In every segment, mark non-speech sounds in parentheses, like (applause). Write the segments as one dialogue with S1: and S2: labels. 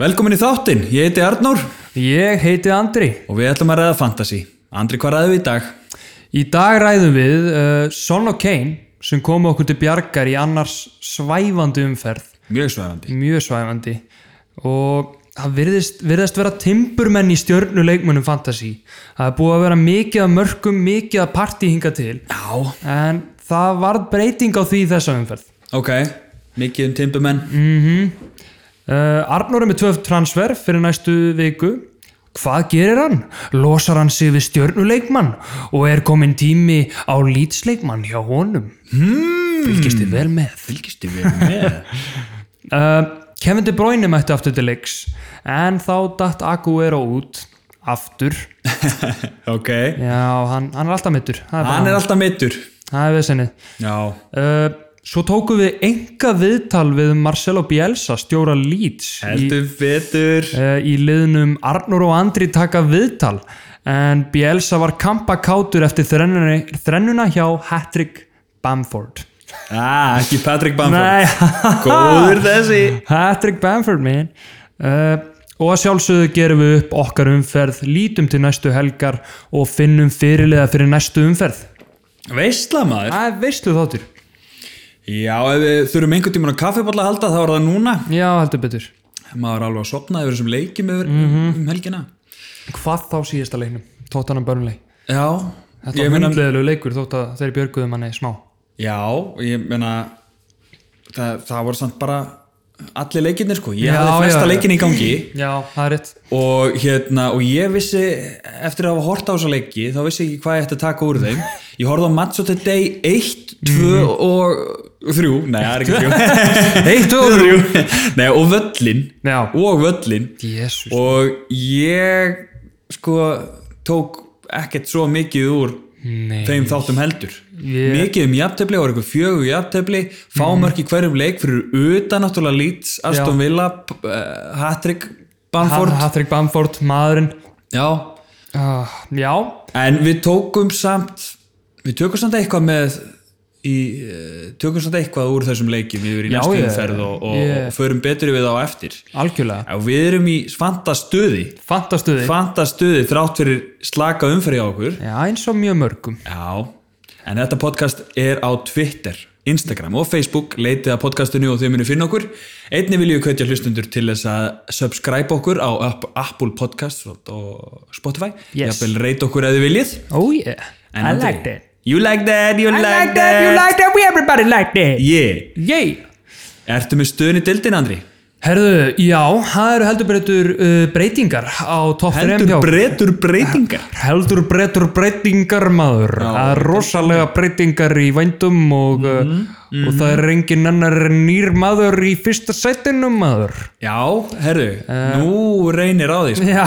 S1: Velkomin í þáttinn, ég heiti Arnór
S2: Ég heiti Andri.
S1: og við ætlum að ræða fantasy. Andri, hvað ræðum við í dag?
S2: Í dag ræðum við uh, Son og Kane sem komu okkur til bjargar í annars svæfandi umferð.
S1: Mjög svæfandi.
S2: Mjög svæfandi. Og það virðist, virðist vera timburmenn í stjörnuleikmunum fantasy. Það er búið að vera mikið að mörgum, mikið að partí hinga til.
S1: Já.
S2: En það varð breyting á því í þessa umferð.
S1: Ok, mikið um timbumenn.
S2: Uh, Arnór er með tvöf transfer fyrir næstu viku. Hvað gerir hann? Losar hann sig við stjörnuleikmann og er komin tími á lýtsleikmann hjá honum? Hmm. Fylgist þið vel með?
S1: Fylgistu við með?
S2: Uh, Kevin De Bruyne mætti aftur til leiks en þá datt Aguero út aftur.
S1: (laughs) ok,
S2: Já, hann, hann er alltaf mittur. Það er, bara-
S1: hann er alltaf mittur.
S2: það er vesennið.
S1: Já.
S2: Uh, svo tókum við enga viðtal við Marcelo Bielsa, stjóra Leeds í
S1: Heldur betur.
S2: Eh, í liðnum Arnur og Andri taka viðtal en Bielsa var kampakátur eftir þrennuna, þrennuna hjá Hattrick Bamford
S1: Ah, ekki Patrick Bamford.
S2: Nei, (laughs)
S1: (laughs) Góður þessi.
S2: Hattrick Bamford man uh, og að sjálfsögðu gerum við upp okkar umferð lítum til næstu helgar og finnum fyrirliða fyrir næstu umferð
S1: Veistla maður.
S2: Það er veistlu þáttur
S1: Já, ef við þurfum einhvern tímann á kaffiballa að halda, þá er það núna.
S2: Já, heldur betur
S1: Maður er alveg að sopna yfir þessum leikjum yfir um helgina.
S2: Hvað þá síðasta leiknum? Tóttanum börnleik
S1: Já.
S2: Þetta
S1: ég
S2: var
S1: meina-
S2: hundleðilegu leikur þótt að þeir björguðu manni smá
S1: Já, ég meina það, það voru samt bara allir leikirnir sko, ég
S2: Já,
S1: hafði flesta
S2: já, já.
S1: leikin í gangi
S2: Já, það er rétt
S1: og hérna, og ég vissi eftir að hafa hort á þessa leiki, þá vissi ég ekki hvað ég ætti að taka úr þeim, ég horfði á Match of the Day 1, 2
S2: Mhm.
S1: og 3, nei það er
S2: (laughs)
S1: ekki 3 1, 2 og 3 (laughs) nei, og völlin,
S2: Já.
S1: og völlin
S2: Jésus
S1: og ég sko tók ekkert svo mikið úr
S2: Nei.
S1: þeim þáttum heldur
S2: Ég-
S1: mikið um jafntefli, það voru eitthvað fjögur jafntefli
S2: Mhm.
S1: fámörk í hverjum leik fyrir utan náttúrulega Leeds, Aston Villa p- eh, Hattrick, Bamford
S2: Ha- Patrick Bamford, maðurinn
S1: já,
S2: uh, Já,
S1: en við tókum samt við tökum samt eitthvað með í, eh, tökum samt eitthvað úr þessum leikjum yfir í
S2: Já,
S1: næstu
S2: ég-
S1: umferð og, og,
S2: ég-
S1: og förum betur við á eftir
S2: algjörlega
S1: Já, við erum í fanta stuði
S2: Fantastuði
S1: fanta stuði þrátt fyrir slaka umferði á okkur
S2: Já, eins og mjög mörgum
S1: Já, en þetta podcast er á Twitter, Instagram og Facebook leitið að podcastinu og þau munu finna okkur einni viljum kveitja hlustundur til þess að subscribe okkur á App- Apple Podcasts og- og Spotify
S2: Yes.
S1: jafnvel reyta okkur eða viljið
S2: Oh yeah,
S1: En
S2: I
S1: Andri,
S2: like that
S1: You like that, you
S2: I
S1: like,
S2: like that, you like that, we everybody like that
S1: Yeah,
S2: Yay
S1: ertu með stöðin í dildin Andri?
S2: Herðu, já, það eru heldur breytur uh, breytingar á topp 3
S1: Heldur breytur breytingar
S2: (laughs) heldur breytur breytingar maður það er rosalega breytingar í vændum og, mm og það er engin annar en nýr maður í fyrsta sætinum maður
S1: Já, herru,
S2: Uh.
S1: nú reynir á því sko.
S2: (laughs) Já,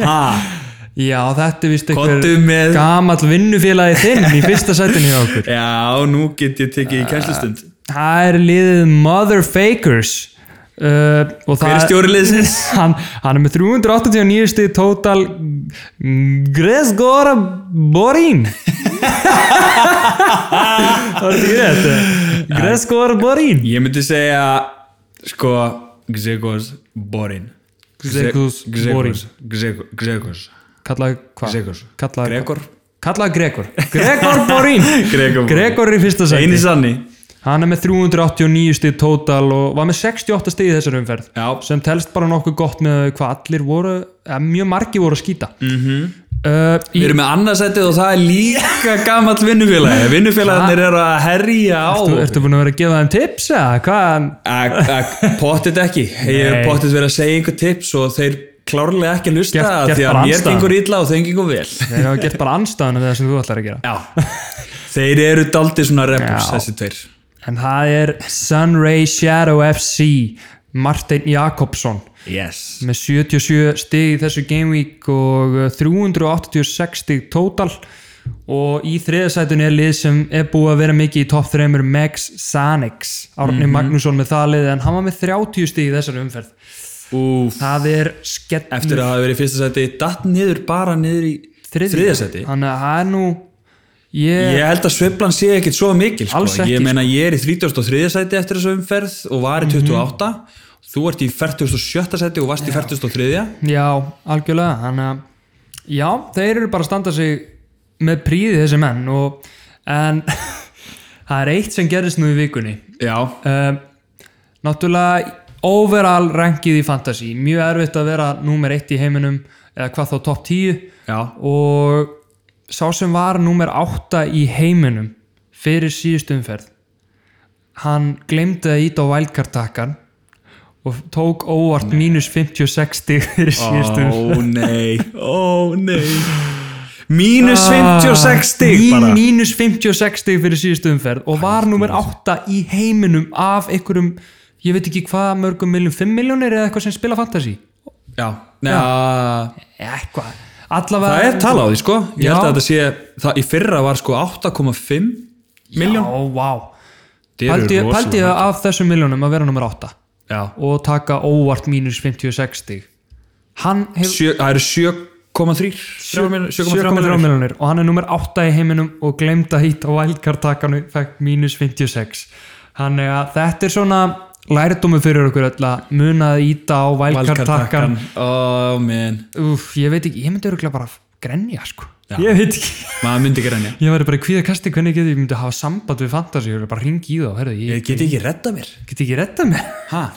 S1: Ha,
S2: (laughs) já þetta er vist einhver
S1: Kottu með
S2: gamall vinnufélagi þinn í fyrsta sætinu hjá okkur
S1: Já, nú get ég tekið í kænslustund
S2: það er liðið Mother Fakers uh, og það
S1: Hver er stjóri liðsins?
S2: (laughs) hann, hann er með 389 stig total Gresgora Borín (laughs) það er ekki rétt Gresgora Borín
S1: Ég myndi segja sko Gzegos Borin
S2: Gzegos Borin.
S1: Gzegos
S2: kalla hvað?
S1: Gregors.
S2: kalla
S1: Gregor
S2: kalla Gregor Gregor Borín
S1: (laughs) Gregor Borin.
S2: Gregor í fyrsta
S1: Eini
S2: sæti
S1: sanni
S2: hann er með 389 stig total og var með 68 stig í þessari umferð
S1: Já
S2: sem telst bara nokkuð gott með hvað allir voru, eða mjög margi voru að skýta mm
S1: Mhm. Við
S2: í,
S1: erum með annarsætið og það er líka gamall vinnufélagi Vinnufélagarnir eru að herja á
S2: Þú ertu búin að vera að gefa þeim tips eða hvað?
S1: Ak- ak- Pottit ekki Ég hef
S2: Nei.
S1: pottit verið að segja einhver tips og þeir klárlega ekki að hlusta
S2: Gert-
S1: af
S2: gert
S1: því að
S2: bara
S1: mér
S2: andstæðan.
S1: gengur illa og þeim gengur vel
S2: Þeir hafa gert bara anstæðan við það sem þú ætlar að gera.
S1: Já Þeir eru daldið svona rebels
S2: Já.
S1: þessi tveir
S2: En það er Sunray Shadow FC, Martin Jakobsson
S1: Yes
S2: með 77 stig í þessu game week og uh, 386 stig total og í þriðasætun er lið sem er búið að vera mikið í topp þreymur Max Sanix Árni
S1: Mhm.
S2: Magnússon með það lið en hann var með 30 stig í þessari umferð
S1: Úf
S2: það er skett
S1: eftir að hafa verið í fyrsta sæti datt niður bara niður í þriðja sæti
S2: þannig að það er nú ég,
S1: ég held að sveiflan sé ekkit svo mikil sko.
S2: Alls ekki, Mhm.
S1: ég meina ég er í 33. sæti eftir þessu umferð og var í 28 þú ert í 47. seti og varst í 43.
S2: Já, algjörlega þannig að já, þeir eru bara að standa sig með príði þessi menn og, en (laughs) það er eitt sem gerist nú í vikunni
S1: Já,
S2: um, náttúrulega overall rankið í fantasy mjög erfitt að vera númer eitt í heiminum eða hvað þá topp 10
S1: já,
S2: og sá sem var númer 8 í heiminum fyrir síðust umferð hann glemdi að íta á wildcard-takkan og tók óvart mínus 56 stig fyrir síðust umferð
S1: ó
S2: (laughs)
S1: nei, ó nei mínus 56 stig
S2: Mín-
S1: bara
S2: Ah, mínus 56 stig fyrir síðust umferð og var númer 8 í heiminum af einhverjum, ég veit ekki hvað mörgum miljón, 5 miljónir eða eitthvað sem spila fantasy
S1: já, já.
S2: eitthvað, allavega
S1: það er tala á því sko ég
S2: Já.
S1: held að þetta sé, það, í fyrra var sko 8,5 miljón
S2: já, vá Paldi, paldi að af þessum miljónum að vera nummer 8
S1: já,
S2: og taka óvart mínus 56 stig hann hefur
S1: Sjö, það eru 7,3 7,3
S2: 7,3
S1: milljónir.
S2: miljónir og hann er nummer 8 í heiminum og glemd að hýta wildcard-takanu fekk mínus 56 þannig að þetta er svona lærdómi fyrir okkur öll að muna að íta á wildcard-takan
S1: Wildcard-takkan. ó men,
S2: Úf, ég veit ekki, ég myndi öruglega bara grenja sko
S1: Já.
S2: ég veit ekki
S1: maður myndi ekki rennja
S2: ég væri bara kvíða kasti hvernig get ég myndi hafa samband við fantasy ég væri bara ringi í þá, herðu, ég
S1: ég get ekki redda mér
S2: get ekki retta mig
S1: ha?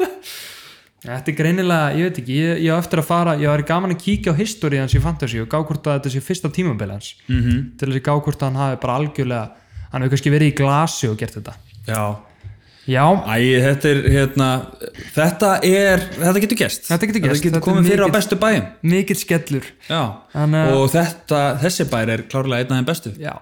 S2: Þetta er greinilega, ég veit ekki, ég, ég á eftir að fara, ég væri gaman að kíkja á history hans í fantasy og gá hvort að þetta sé fyrsta tímabil hans -hmm. til þess að gá hvort að hann hafi bara algjörlega, hann hefur kannski verið í glasi og gert þetta.
S1: já,
S2: Já,
S1: Æ, þetta er, hérna, þetta er, þetta getur gest.
S2: Þetta getur gerst.
S1: Þetta getur
S2: Þetta er
S1: komið fyrir á
S2: mikið-
S1: bestu bæjum.
S2: mikill skellur.
S1: Já.
S2: Þannig að-
S1: Og þetta, þessi bær er klárlega einn af þeim bestu.
S2: Já.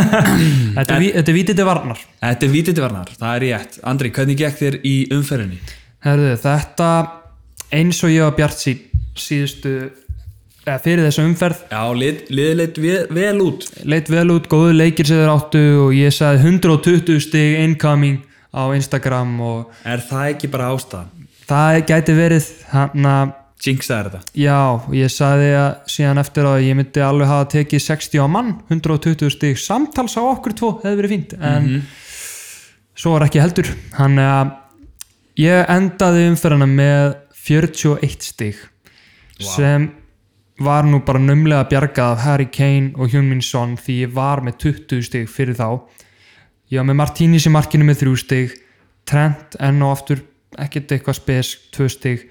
S2: þetta, er, ví- þetta er vítið til varnar.
S1: Þetta er vítitivarnar, það er rétt. Andri, hvernig gekk þér í umferðinni?
S2: Herðu, þetta eins og ég var bjart sín síðustu, eða fyrir þessu umferð,
S1: Já, lið- liðið leitt vel, vel út.
S2: leitt vel út, góðu leikir sem þeir áttu og ég sagði 120 stig incoming á Instagram og
S1: Er það ekki bara ástæðan?
S2: Það gæti verið hann að,
S1: Jinxaði þetta.
S2: já, ég saði að síðan eftir að ég myndi alveg hafa tekið 60 á mann, 120 stig samtals á okkur tvo, hefði verið fínt en svo var ekki heldur hann að ég endaði umferðina með 41 stig sem var nú bara nömlega bjargað af Harry Kane og Hjungmin Son því ég var með 20 stig fyrir þá ég var með Martínis í markinu með 3 stig Trent enn og aftur ekkert eitthvað spes 2 stig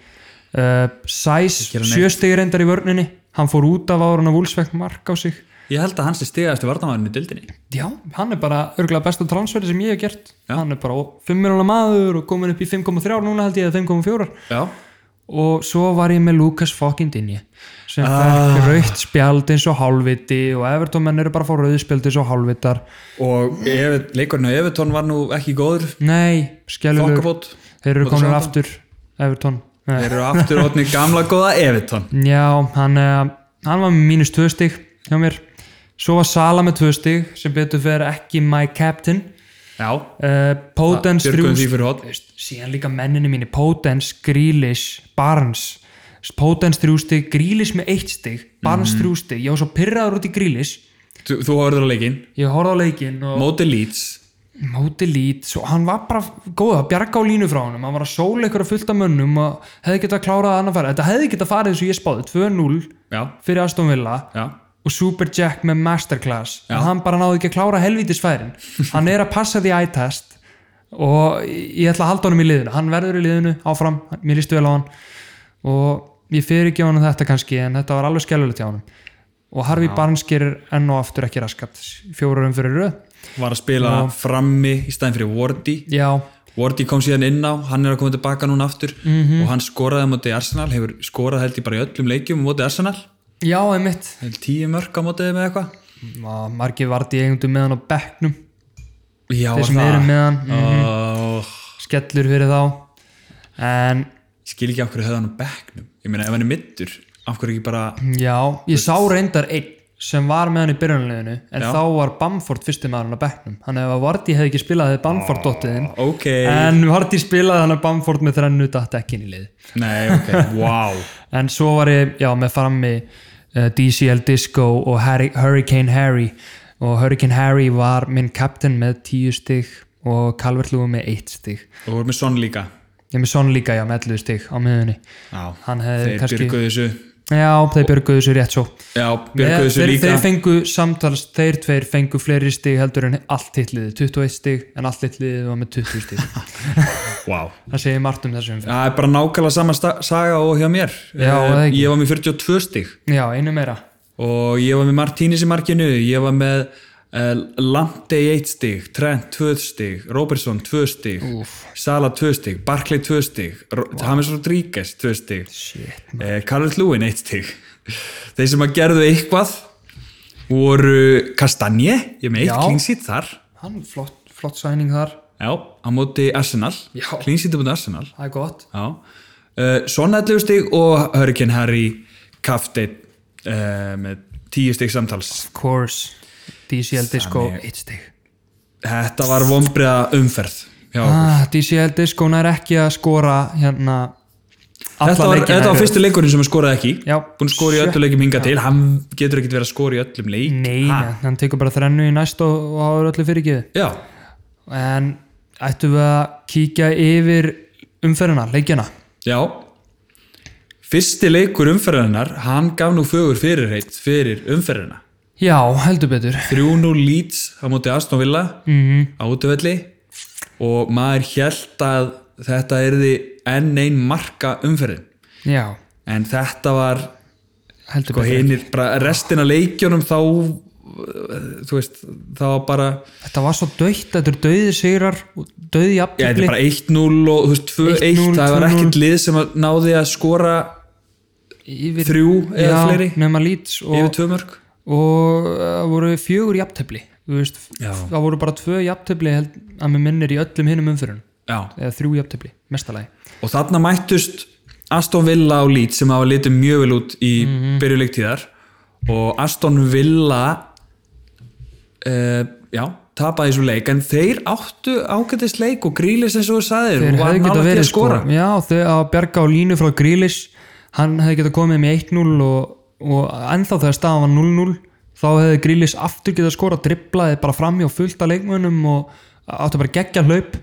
S2: uh, Sæs
S1: Ekki gera neitt.
S2: 7 stig reyndar í vörninni hann fór út af árun og vúlsvegt mark á sig
S1: Ég held að hans er stigaðast í varnamæðinu í dildinni.
S2: já, hann er bara örgulega besta transferi sem ég hef gert
S1: Já.
S2: hann er bara 5 miljonar maður og komin upp í 5,3 núna held ég að 5,4
S1: Já.
S2: og svo var ég með Lucas fucking Dinje sem
S1: Ah.
S2: fekk raukt spjald eins og hálfviti og Evertómenn eru bara að fá rauðspjald eins og hálfvitar
S1: Og ef, leikurinn á Evertón var nú ekki góður.
S2: nei, skjálfur
S1: Fokkabót.
S2: þeir eru
S1: Móti
S2: komin
S1: Southampton.
S2: aftur Evertón Nei.
S1: Þeir eru aftur ótni gamla góða Evertón.
S2: Já, hann, eh, hann var með mínus tvö stig hjá mér. Svo var Sala með tvö stig sem betur fyrir ekki my captain.
S1: Já.
S2: Uh, Potens
S1: Björgum því
S2: þrjú
S1: fyrir hot.
S2: veist, síðan líka menninu mínu Potens, Grealish, Barnes Potens þrjú stig, Grealish með eitt stig Barnes þrjú stig, ég var svo pyrraður út í Grealish
S1: Þú, þú horfður á leikinn,
S2: ég horfði á leikinn og
S1: móti Leeds
S2: móti lít, svo hann var bara góð að bjarga á línu frá honum, hann var að sóla ykkur að fullta mönnum og hefði getað klárað að annar fara, þetta hefði getað farið eins og ég spáði 2-0
S1: Já,
S2: fyrir Aston Villa
S1: já,
S2: og Super Jack með Masterclass en hann bara náði ekki að klára helvítisfærin hann er að passa því ættast og ég ætla að halda honum í liðinu hann verður í liðinu áfram, mér líst vel á hann og ég fyrir ekki á hann þetta kannski en þetta var alveg skellulegt hjá hann og Harfi Barnes gerir enn og aftur ekki raskat fjórurum fyrir röð
S1: var að spila frammi í staðin fyrir Wardy
S2: já,
S1: Wardy kom síðan inn á, hann er að koma tilbaka núna aftur
S2: Mhm.
S1: og hann skoraði á móti Arsenal hefur skorað held ég bara í öllum leikjum á móti Arsenal,
S2: já, einmitt
S1: held tíu mörg á móti þeim eða eitthvað
S2: Má, margir vart í eigundum með hann á bekknum
S1: Já,
S2: þeir
S1: var
S2: sem eru
S1: það
S2: með Mhm. hann
S1: Ó,
S2: skellur fyrir þá en
S1: Skil ekki af hverju höfðu hann á bekknum Ég meina ef hann er middur, af hverju ekki bara
S2: Já, ég sá reyndar einn sem var með hann í byrjunleginu en
S1: Já.
S2: þá var Bamford fyrsti maður hann á bekknum þannig að ef að Vardí hefði ekki spilað hefði Bamford dottiðinn
S1: Ok,
S2: en Vardí spilaði hann að Bamford með þrennu datt ekki inn í lið
S1: nei, ok, wow
S2: en svo var ég, já, með frammi uh, DCL Disco og Harry, Hurricane Harry og Hurricane Harry var minn captain með tíu stig og Calvert Lúi með eitt stig
S1: Og voru með Son líka
S2: ég er með Son líka já, með 11 stig á miðunni
S1: Já,
S2: Hann hefði
S1: þeir
S2: kannski-
S1: björguðu þessu
S2: já, þeir björguðu þessu rétt svo
S1: Já, björguðu þessu
S2: þeir,
S1: líka
S2: þeir fengu samtals, þeir tveir fengu fleiri stig heldur en allt hitliði 21 stig en allt hitliði var með 20
S1: (laughs)
S2: stig
S1: Vá.
S2: það segir margt um þessum
S1: Það er bara nákvæmlega sama sta- saga og hjá mér
S2: Já,
S1: Eh,
S2: það er ekki.
S1: Ég var með 42 stig
S2: já, einu meira
S1: og ég var með Martínis í markinu ég var með uh, Lante í 1 stig, Trent 2 stig Robertson 2 stig
S2: Úff.
S1: Sala 2 stig, Barkley 2 stig Ro- James Rodríguez 2 stig
S2: shit
S1: uh, Karl Lúin 1 stig þeir sem að gerðu eitthvað voru Kastanje ég er með
S2: Já.
S1: eitt klingsít þar
S2: hann, flott, flott sæning þar
S1: já, á móti Arsenal
S2: Já.
S1: klingsít á móti Arsenal
S2: það er gott
S1: Já. Uh, Son 11 stig og Hurricane Harry Kafteinn uh, með 10 stig samtals
S2: course, DCL Disco
S1: Þannig-
S2: 1 stig
S1: Þetta var vombriða umferð Já,
S2: ah, DCL Disco nær ekki að skora hérna alla
S1: þetta, var,
S2: leikina
S1: þetta var
S2: í röð.
S1: fyrsti leikurinn sem hann skoraði ekki
S2: Já.
S1: Búin að skora í öllu leikum hinga til Hann getur ekkert verið að skora í öllum leik
S2: nei, nei, hann tekur bara þrennu í næst og, og áður öllu fyrirgefið
S1: Já,
S2: en ættum við að kíkja yfir umferðina, leikjana
S1: já Fyrsti leikur umferðarinnar Hann gaf nú fögur fyrirheit fyrir umferðina
S2: já, heldur betur
S1: 3-0 Leeds á móti Aston Villa á útvelli og maður held að þetta erði enn ein marka umferðin
S2: já,
S1: en þetta var
S2: heldur
S1: sko,
S2: betur
S1: hinir, bara restin af leikjunum þá uh, þú veist, þá var bara
S2: þetta var svo döitt, þetta er döiði sigrar og döiði
S1: já, þetta er
S2: jafnbygli
S1: bara 1-0 og þú veist 2-1
S2: 1-0,
S1: það var
S2: 2-0.
S1: ekkert lið sem að náði að skora
S2: yfir
S1: þrjú eða
S2: já,
S1: fleiri
S2: nema lýts
S1: yfir
S2: og,
S1: tvö mörg
S2: og uh, voru fjögur jafntefli þú veist,
S1: Já.
S2: það voru bara tvö jafntefli held, að mér minnir í öllum hinum umfyrun
S1: já.
S2: eða þrjú jafntefli, mestalagi
S1: og þarna mættust Aston Villa og Leeds sem hafa litið mjög vel út í mm
S2: Mhm.
S1: -hmm. byrjuleiktíðar og Aston Villa uh, já tapaði þessum leik, en þeir áttu ágættis leik og grílis eins og þú saðir
S2: þeir hefði geta verið sko. skora
S1: skora
S2: já, þeir að bjarga á línu frá Grílis hann hefði geta komið með 1-0 og, og ennþá þegar staðan var 0-0 þá hefði Grílis aftur geta skora driblaði bara fram hjá fullt af leikmönnum og átti bara geggja hlaup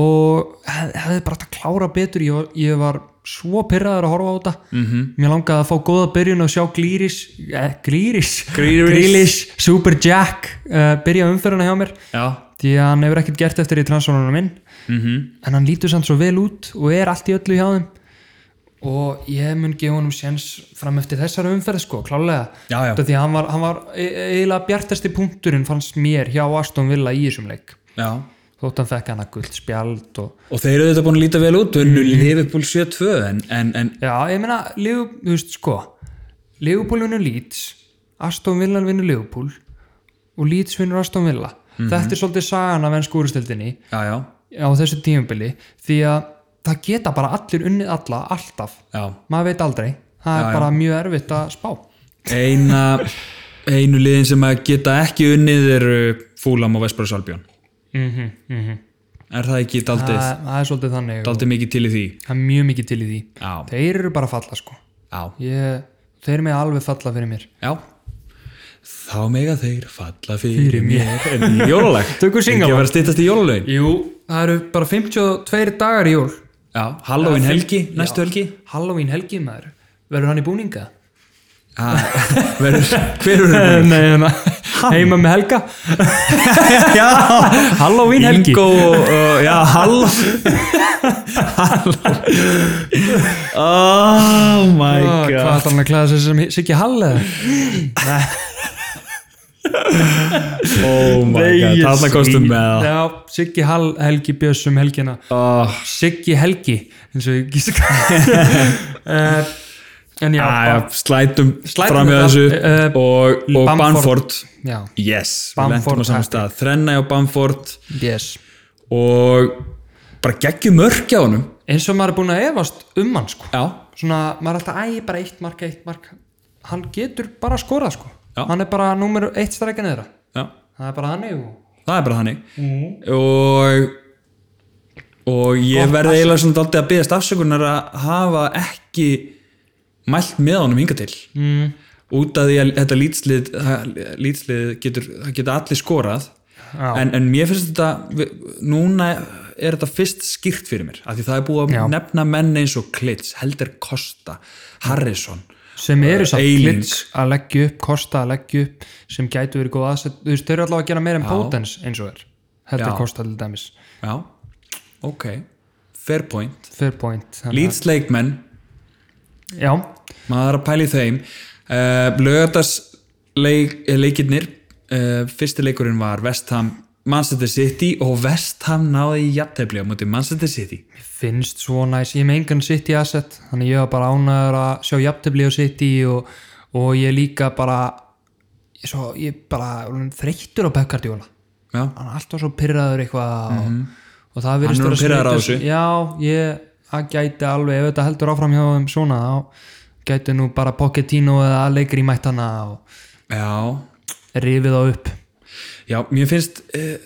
S2: og hef- hefði bara átt að klára betur ég var, ég var svo pyrraður að horfa á þetta
S1: Mhm.
S2: -hmm. mér langaði að fá góða byrjun og sjá Glíris eh, Glíris,
S1: Grealish.
S2: Super Jack uh, byrja umferðina hjá mér
S1: já,
S2: því að hann hefur ekkert gert eftir í transferunum minn
S1: Mhm.
S2: -hmm. en hann lítur samt svo vel út og er allt í öllu hjá þeim og ég mun gefa honum séns fram eftir þessari umferð sko, klálega
S1: Já, já.
S2: Þetta því að hann var, hann var e- eiginlega bjartasti punkturinn fannst mér hjá Aston Villa í þessum leik
S1: já
S2: þótt hann fekk hann að guld spjald og
S1: og þeir eru þetta búin að líta vel út unnu
S2: Mhm.
S1: mm. Liverpool 7-2 en, en, en
S2: já, ég meina, Liverpool, þú veist sko Liverpool vinnur Leeds Aston Villa vinnur Liverpool og Leeds vinnur Aston Villa
S1: Mhm.
S2: þetta er svolítið sagan af enn skúristildinni
S1: já, já,
S2: á þessu tímubili því að það geta bara allir unnið alla alltaf,
S1: já
S2: maður veit aldrei það er bara mjög erfitt að spá
S1: eina einu liðin sem að geta ekki unnið eru Fúlam og Vesparus Albjón
S2: mm -hmm, mm -hmm.
S1: er það ekki
S2: Það,
S1: daldið,
S2: það er svolítið þannig og
S1: daldið mikið til í því
S2: það er mjög mikið til í því
S1: já,
S2: þeir eru bara að falla sko
S1: já
S2: ég, þeir með alveg falla fyrir mér
S1: Já Þá mega þeir falla fyrir, mér en í (laughs) jólalag
S2: Tökum singalog.
S1: Ekki að vera styttast í jólalögin
S2: Jú, það eru bara 52 dagar í jól
S1: Já, Halloween helgi, næstu helgi
S2: Halloween helgi maður, verður hann í búninga?
S1: Ha, Ah, (laughs) verður, Hver (laughs) verður það?
S2: (laughs) Nei, nei, heima með helga
S1: Já,
S2: Halloween helgi
S1: Ingo og, og já, (laughs) Hall Hall Oh my
S2: Ah, Hvað
S1: god
S2: ætlar hann að klæða sig sem Siggi Hall eða?
S1: Oh my god, þarna kostum með það
S2: Já, Siggi Hall, Helgi Björns um helgina
S1: Oh,
S2: Siggi Helgi eins og ég (laughs) gíska uh, En já,
S1: aðja, Slætum
S2: Slætum
S1: fram í
S2: þetta,
S1: þessu
S2: eh, eh,
S1: og, og
S2: Bamford.
S1: Bamford
S2: já
S1: Yes, við lentum
S2: Bamford
S1: á saman stað Þrenna á Bamford
S2: yes.
S1: og bara geggjum mörkja honum
S2: eins og maður er búin að efast um hann sko.
S1: já,
S2: svona, maður er alltaf æg bara eitt mark, eitt mark hann getur bara að skora sko.
S1: Já.
S2: hann er bara númer eitt strækja neðra
S1: já,
S2: það er bara hann og...
S1: það er bara þannig
S2: Mhm.
S1: og og ég
S2: Gott
S1: verði eiginlega svona daldið að byggast afsökunar að hafa ekki mælt með honum hinga til mm.
S2: Mhm.
S1: út af því að þetta lítslið það- lítslið getur, það getur allir skorað
S2: Já.
S1: en, en mér finnst þetta við- núna er þetta fyrst skýrt fyrir mér af því það er búið að
S2: Já.
S1: nefna menn eins og Klitz, Helder Kosta Harrison
S2: sem eru samt
S1: Eiling.
S2: klits að leggja upp, kosta að leggja upp sem gætu verið góð aðsett þú veist, þeir eru allavega að gera meira en potens eins og er heldur
S1: Já.
S2: kosta til dæmis
S1: já, ok fair point,
S2: fair point Þannig
S1: Leeds leikmenn
S2: að- já,
S1: maður er að pæli þeim uh, lögatags leik, leikirnir uh, fyrsti leikurinn var West Ham Manchester City og West Ham náði í jattefli á móti Manchester City
S2: mér finnst svo næs ég er með engan city asset þannig ég var bara ánæður að sjá jafntefli á city og, og ég er líka bara ég, er svo, ég er bara orðinn þreyttur á Pepkardjóla
S1: já,
S2: hann er alltaf svo pyrraður eitthvað mm og það virðist
S1: Mhm. Hann er orðinn
S2: vera
S1: pirraður á
S2: smitast-
S1: þessu.
S2: já, ég, það gæti alveg ef þetta heldur áfram hjá þeim svona þá gæti nú bara Pochettino eða Allegri mætt hana og
S1: já
S2: rifið á upp
S1: Já, mér finnst uh,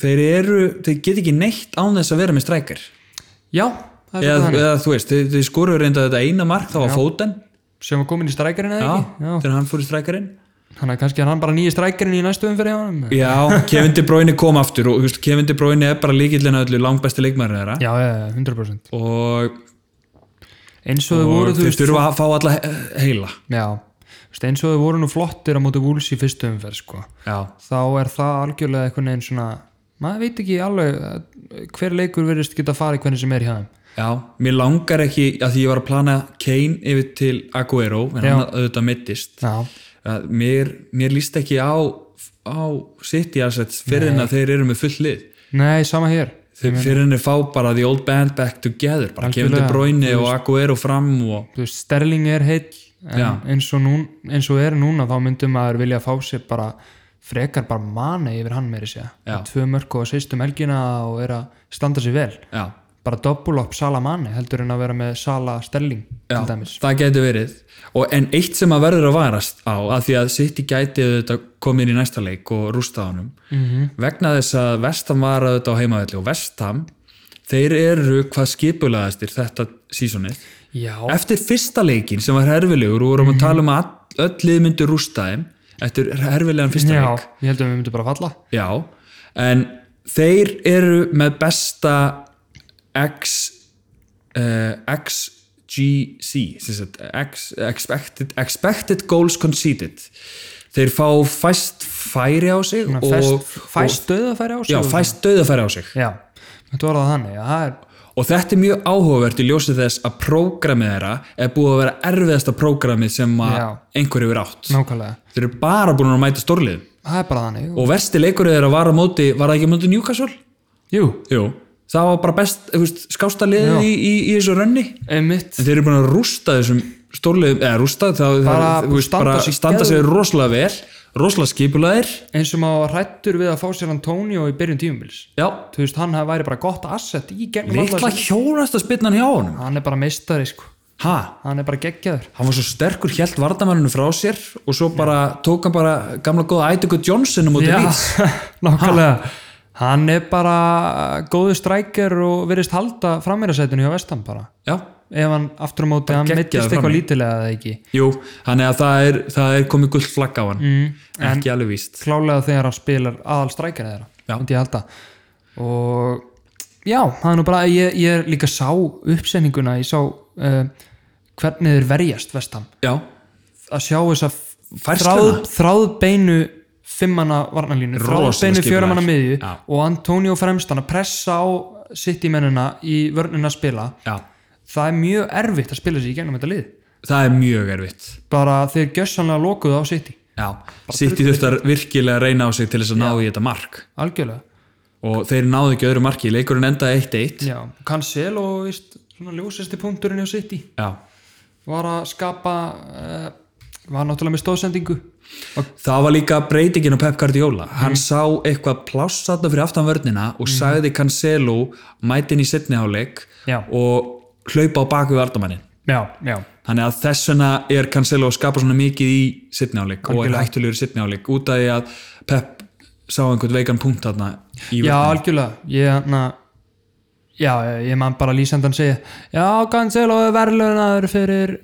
S1: þeir eru, þeir get ekki neitt án þess að vera með strækir
S2: já, það er
S1: eða,
S2: svolítið þannig
S1: eða þú veist, þeir, þeir skoru reynda þetta eina mark þá var fóten
S2: sem var komin í strækjarinn eða
S1: já,
S2: ekki já.
S1: þegar hann fór í strækirinn
S2: þannig að kannski er hann bara nýja strækjarinn í næstu umfyrir hjá hann
S1: Já, Kevin De Bruyne kom aftur og þú veist, Kevin De Bruyne er bara líkillin að öllu langbæsti leikmæri þeirra
S2: já, já, já, 100%
S1: og,
S2: eins og þau voru
S1: og
S2: þú
S1: þeir
S2: veist
S1: þurfa að fá alla he- heila
S2: já, þú veist, eins og þau voru nú flottir á móti Wolves í fyrstu umferð sko.
S1: Já,
S2: þá er það algjörlega einhvern veginn svona maður veit ekki alveg eh, hver leikur verðist geta farið hvernig sem er hjá þeim
S1: já, mér langar ekki að því ég var að plana Kane yfir til Aguero en
S2: Já.
S1: hann auðvitað mittist
S2: já,
S1: að mér, mér líst ekki á, á City assets fyrir en að þeir eru með full lið
S2: nei, sama hér
S1: þeir fyrir en að fá bara the old band back together bara Kevin De
S2: Algjörlega,
S1: Bruyne og Aguero fram og
S2: Þú veist, Sterling er heill
S1: Já.
S2: en eins og, nún, eins og er núna þá myndum maður vilja fá sér bara frekar bara mani yfir hann meiri sér
S1: Já.
S2: tvö mörg og sýst um helgina og er að standa sér vel
S1: já,
S2: bara doppul upp Sala manni heldur en að vera með Sala Sterling
S1: já
S2: til dæmis
S1: það gæti verið og en eitt sem að verður að varast á að því að City gæti auðvitað komið inn í næsta leik og rústa honum
S2: Mhm.
S1: -hmm. vegna þess að Vestam var auðvitað á heimavelli og Vestam þeir eru hvað skipulaðastir þetta sísonið
S2: já, Mhm.
S1: eftir fyrsta leikin sem var herfilegur og vorum að tala um að all- öll lið myndu rústa þeim eftir herfilegan fyrsta
S2: já,
S1: leik
S2: ég heldur að við myndum bara falla
S1: já, en þeir eru með besta X uh, XGC sem sagt, X, expected, expected Goals Conceded þeir fá fæst færi á sig
S2: Svona
S1: og,
S2: fæst, fæst döð að færa á sig
S1: já, fæst döðafæri á sig
S2: Já, þetta var það þannig, já, það er
S1: Og þetta er mjög áhugavert í ljósið þess að prógramið þeirra er búið að vera erfiðasta prógramið sem að
S2: Já.
S1: einhverju verið átt.
S2: nákvæmlega,
S1: Þeir eru bara búin að mæta stórlið.
S2: það er bara þannig
S1: Og versti leikurinn þeirra var að móti, var það ekki að móti Newcastle?
S2: Jú,
S1: Jú. Það var bara best, þú veist, skásta
S2: Já.
S1: liðið í, í, í þessu rönni.
S2: einmitt
S1: En þeir eru búin að rústa þessum stórliðum, eða rústa, þá,
S2: Bara
S1: það, þú veist,
S2: standa
S1: bara
S2: sig
S1: standa
S2: geðveikt.
S1: sig rosalega vel, rosalega skipulaðir.
S2: eins og maður var hrættur við að fá sér Antonio í byrjun tímubils
S1: Já.
S2: Þú veist, hann hafi væri bara gott asset í gegnum alla
S1: Litla
S2: þessu-
S1: hjólast að spilna hann hjá honum.
S2: Hann er bara meistari, sko
S1: Ha?
S2: Hann er bara geggjaður
S1: hann var svo sterkur, held vardamanninu frá sér og svo bara tók hann bara gamla góða Ætugur Johnson um út í lýts
S2: (laughs) nákvæmlega Hann er bara góðu strækjar og virðist halda frammeirasætinu hjá vestan bara
S1: já,
S2: Ef hann aftur á móti, hann
S1: geggjaður
S2: mittist eitthvað
S1: frammi.
S2: lítilega eða ekki
S1: jú, þannig að það er, það er komið gull flagg á hann
S2: mm, En
S1: ekki alveg víst
S2: klálega þegar hann spilar aðal strækjar
S1: Já.
S2: þeirra myndi ég halda og já, það er nú bara ég, ég líka sá uppsendinguna ég sá uh, hvernig þeir verjast vestam
S1: já,
S2: að sjá þess að
S1: Færsluna?
S2: þráðbeinu fimmanna varnalínu
S1: Rosalega
S2: þráðbeinu
S1: skipulagt.
S2: fjöramanna miðju
S1: Já.
S2: og Antonio fremstan að pressa á sitt í mennina í vörnina að spila
S1: já,
S2: það er mjög erfitt að spila sér í gegnum þetta lið
S1: það er mjög erfitt
S2: bara þeir gjössanlega lokuðu á sitt í
S1: já, City þurfti að virkilega reyna á sig til þess að ná í þetta mark
S2: algjörlega
S1: og þeir náðu ekki öðru marki, leikurinn endaði 1-1
S2: Já, Cancelo, víst, svona ljósesti punkturinn hjá City
S1: já,
S2: var að skapa uh, var náttúrulega með stóðsendingu og
S1: það var líka breytingin á Pep Guardiola hann
S2: Mm.
S1: sá eitthvað plássatna fyrir aftan vörnina og sagði Cancelo mætin í setniháleik
S2: Já.
S1: og hlaupa á baku vardamannin
S2: já, já,
S1: Þannig að þess vegna er Cancelo að skapa svona mikið í sittnjáleik og er hættulegur sittnjáleik út af því að Pep sá einhvern veikan punkt þarna í
S2: já,
S1: vörninni.
S2: algjörlega ég, na, já, ég man bara lýsandan segja, já, Cancelo er verðlunaður eh, fyrir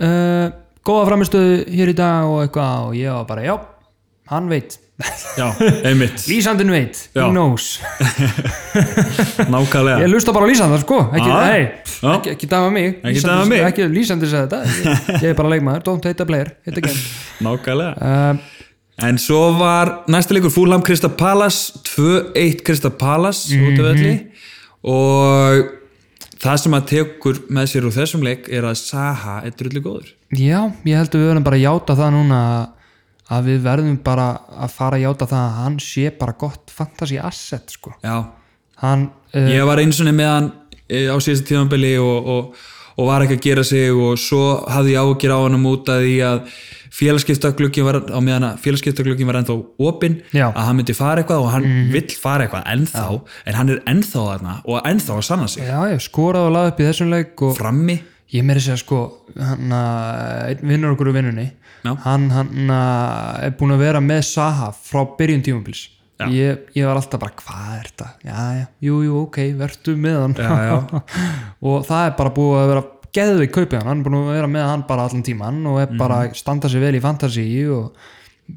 S2: uh, góða framistöðu hér í dag og eitthvað og ég var bara, já hann veit (laughs)
S1: Já, einmitt,
S2: Lýsandinn veit,
S1: Já.
S2: he knows ég
S1: nákvæmlega
S2: lusta bara á Lýsandar sko ekki,
S1: Já.
S2: hey,
S1: Ah, Já.
S2: ekki, ekki dæma mig
S1: Ekki
S2: Lýsandur-
S1: dæma mig.
S2: ekki Lýsandir sagði þetta ég, ég er bara leikmaður, don't hate a player hate a
S1: (laughs)
S2: game
S1: Nákvæmlega
S2: uh,
S1: En svo var næsta leikur Fúlham Krista Palace 2-1 Krista Palace út af öllu og það sem að tekur með sér úr þessum leik er að Saha er drullu góður
S2: já, ég held að við verðum bara að játa það núna að við verðum bara að fara að játa það að hann sé bara gott fantasy asset sko
S1: Já,
S2: hann, uh,
S1: ég var eins og með hann eh, á síðasta tímanbili og, og, og var ekki að gera sig og svo hafði ég ágjur á hann út að því að félagskiptagluggi var á meðan að félagskiptagluggi var ennþá opinn
S2: Já.
S1: að hann myndi fara eitthvað og hann vill fara eitthvað ennþá en hann er ennþá þarna og ennþá að sanna sig
S2: já, ég skoraði og laði upp í þessum leik og
S1: frammi
S2: ég meiri segja sko hann að einn vinnur okkur úr vinnunni
S1: Já.
S2: hann, hann að er búin að vera með Saha frá byrjun tímabils ég, ég var alltaf bara hvað er þetta já, já, jú, jú, ok, vertu með hann
S1: Já, já.
S2: (laughs) og það er bara búið að vera geðvig kaupið hann, hann er búin að vera með hann bara allan tíman og er bara
S1: Mhm.
S2: að standa sig vel í fantasy og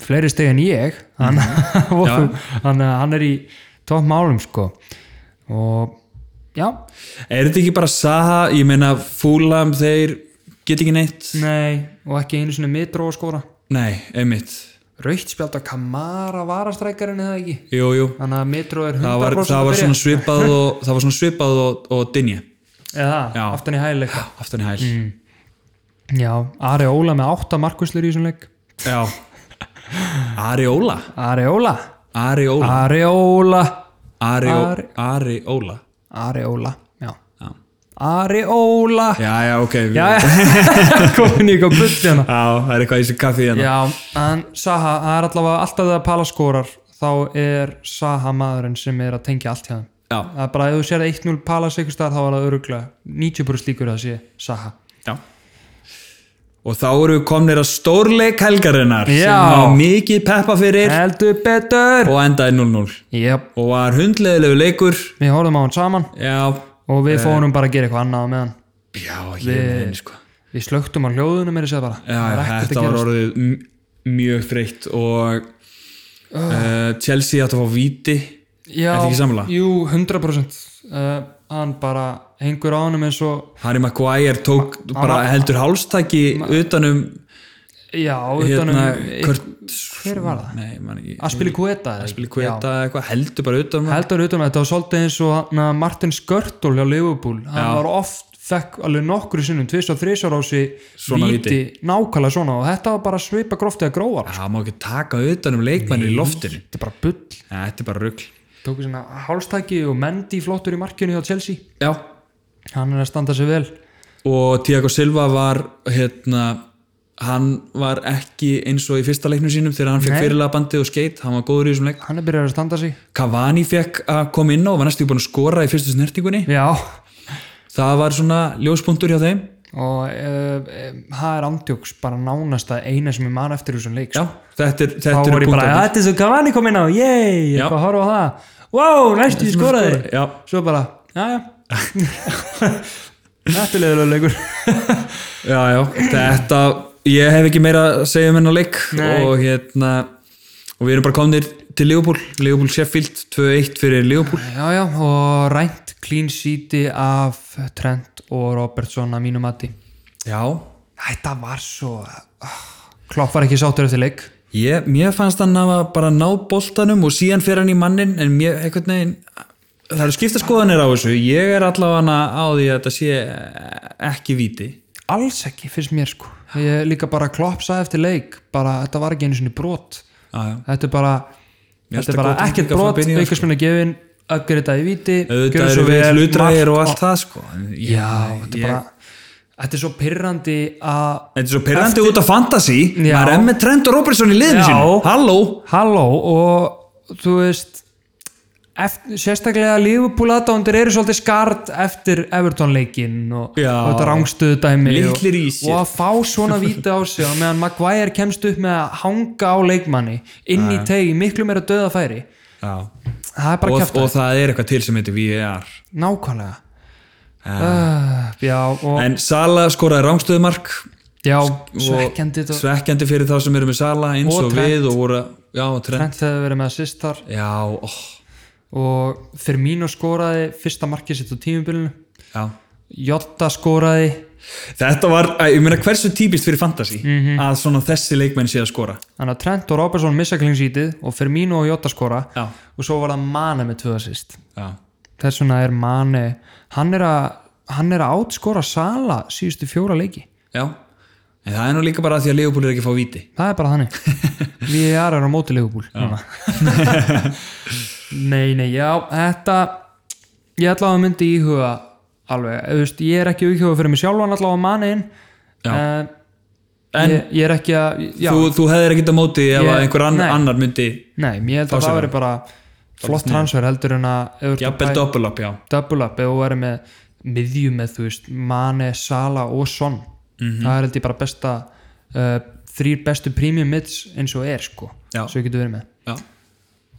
S2: fleiri steg en ég hann,
S1: Mhm.
S2: (laughs) og, hann, hann er í topp málum sko og já,
S1: Er þetta ekki bara Saha, ég meina Fúlam, þeir get ekki neitt?
S2: nei og ekki einu sinni mitró að skora
S1: Nei, einmitt.
S2: raukt spjált á Kamara varastrækjarinn eða ekki
S1: Jú, jú.
S2: þannig að Mitro er 100%
S1: Það var, það var svona svipað og, það var svona svipað og, og Dinje,
S2: eða,
S1: Já.
S2: aftan í hægileika
S1: aftan í hæl.
S2: Mm. já, Ari Óla með 8 markvislur í þessum leik
S1: Já. Ari Óla.
S2: Ari Óla
S1: Ari Óla.
S2: Ari Óla
S1: Ari,
S2: Ari-
S1: Ari. Ari Óla.
S2: Ari Óla, já
S1: Já.
S2: Ari Óla
S1: Já, já, ok.
S2: já,
S1: já.
S2: (laughs) komin í eitthvað butt hérna
S1: það er eitthvað í þessu kaffið hérna.
S2: já, en Saha, það er allavega alltaf þegar Pala skorar þá er Saha maðurinn sem er að tengja allt hjá þeim
S1: Já.
S2: það er bara ef þú sér 1-0 Pala segur staðar þá er það öruglega 90% líkur að það sé Saha
S1: Já. Og þá eru við komnir að stórleik helgarinnar
S2: Já.
S1: sem var mikið peppa fyrir
S2: heldur betur
S1: og endaði 0-0
S2: Jep,
S1: og var hundleðilegu leikur
S2: við horfum á hann saman
S1: Já,
S2: og
S1: Eh.
S2: við fórum bara að gera eitthvað annað á meðan
S1: Já, ég meðin sko
S2: Við slögtum á hljóðunum er að segja bara
S1: Já,
S2: Það er ekkert
S1: þetta
S2: að
S1: var
S2: gerast.
S1: orðið m- mjög þreytt og
S2: Ah.
S1: uh, Chelsea átti að fá víti
S2: Já,
S1: Ertu ekki sammála?
S2: Jú, 100% uh, Hann bara hengur á honum eins og
S1: Harry Maguire tók bara heldur hálstaki utanum
S2: Já, utan
S1: hérna
S2: um
S1: Kurt,
S2: Hver var það?
S1: nei, man ekki
S2: Aspili Kueta
S1: Aspili Kveta eitthvað, heldur bara utanum hann.
S2: Heldur utan um þetta var svolítið eins og hann að Martin Skörtól hjá Liverpool Hann var oft, fekk alveg nokkru sinnum tvis og þrisar á sig
S1: Svona
S2: nákvæmlega svona og þetta var bara svipa gróftið að gróa
S1: Já, það má ekki taka utanum leikmennir í loftinu
S2: Þetta er bara bull
S1: ja, Þetta er bara rugl
S2: tóku svona hálstæki og Mendy flottur í markinu hjá Chelsea
S1: Já,
S2: hann er að standa sig vel
S1: og Tiago Silva var hérna hann var ekki eins og í fyrsta leiknum sínum þegar hann fekk
S2: Nei.
S1: fyrirlega bandið og skeitt hann var góður í þessum leik
S2: hann er byrjað að standa sig
S1: Cavani fekk að koma inn á og var næstu búin að skora í fyrstu snertingunni
S2: já
S1: það var svona ljóspunktur hjá þeim
S2: og eh, eh, það er andjóks bara nánast að eina sem ég man eftir þessum leik
S1: já,
S2: sko.
S1: þetta er,
S2: þá
S1: þetta
S2: var
S1: er
S2: ég bara, þetta er svo Cavani kom inn á yey,
S1: Já.
S2: ég bara horfa á það wow, næstu ég skoraði
S1: já,
S2: svo bara, já
S1: (laughs)
S2: já þetta er leðulega leikur
S1: já, já, þetta ég hef ekki meira að segja um hennar leik
S2: Nei.
S1: og hérna og við erum bara komnir til Leopold Leopold Sheffield 2-1 fyrir Leopold
S2: já já, og rænt clean sheeti af Trent og Robertson að mínu mati
S1: já,
S2: þetta var svo uh, Klopp var ekki sáttur eftir leik
S1: ég, mér fannst hann að bara ná boltanum og síðan fer hann í mannin en mér, einhvern veginn það eru skipta skoðanir á þessu ég er allavega á því að þetta sé ekki víti
S2: alls ekki finnst mér sko ég líka bara klopsaði eftir leik bara þetta var ekki einu sinni brot
S1: já, já
S2: þetta er bara,
S1: Mér
S2: þetta
S1: finnst
S2: er
S1: það
S2: bara
S1: gott
S2: ekkert
S1: líka frá
S2: brot
S1: byrjun,
S2: aukarsmynda gefin, uppgreita í viti
S1: auðvitað eru við hlutræðir og allt það sko En ég-
S2: já, þetta er
S1: ég-
S2: bara þetta er svo pirrandi að
S1: þetta er svo perrandi út af fantasy
S2: Já.
S1: maður er með Trent og Robertson í liðinu
S2: Já.
S1: sinu halló
S2: halló og þú veist eftir, sérstaklega Liverpool aðdándir eru svolítið skart eftir Everton leikinn og, og
S1: Já.
S2: þetta rangstöðu dæmi og,
S1: Litlir í sér.
S2: og að fá svona víti á sig og meðan Maguire kemst upp með að hanga á leikmanni inn í tegi miklu meira döða færi það er
S1: og,
S2: bara kæft
S1: og það er eitthvað til sem heitir VAR
S2: nákvæmlega uh, já og
S1: en Sala skoraði rángstöðumark
S2: já,
S1: og
S2: svekkjandi þetta
S1: svekkjandi fyrir þá sem eru með Sala eins
S2: Og
S1: og,
S2: Trent.
S1: við og voru, já, trend
S2: Trent hefði verið með assist þar
S1: já, oh, ó,
S2: og Firmino skoraði fyrsta markið sitt á tímubilinu
S1: já
S2: Jota skoraði
S1: þetta var, æ, ég meina hversu típist fyrir fantasy að svona þessi leikmenn sé að skora
S2: þannig að Trent og Robertson missa klingsítið og Firmino og Jota skora
S1: já,
S2: og svo var það Mane með tvö assist
S1: já,
S2: þess vegna er Mane hann er að, hann er að átskora Sala síðustu fjóra leiki
S1: já en það er nú líka bara að því að Leopold er ekki að fá víti
S2: það er bara
S1: (laughs)
S2: þannig við erum á móti leifubúl (laughs) nei, nei, já þetta ég ætla að myndi íhuga alveg, Þú veist, ég er ekki íhuga fyrir mig sjálfan allavega mannin
S1: Já.
S2: uh,
S1: En-
S2: ég, ég er ekki að já,
S1: þú, þú hefðir ekkert að móti ef
S2: Ég-
S1: að einhver ann,
S2: nei.
S1: annar myndi
S2: nei, ég held
S1: Þá
S2: að
S1: sér
S2: það veri bara flott transfer heldur en að ef þú ert að
S1: jafnvel
S2: pæ-
S1: double up, já
S2: double up ef þú verður með miðjum með þú veist Mane, Sala og Son
S1: Mhm.
S2: það er held ég bara besta uh, þrýr bestu premium mids eins og er sko,
S1: Já.
S2: svo getur verið með
S1: já,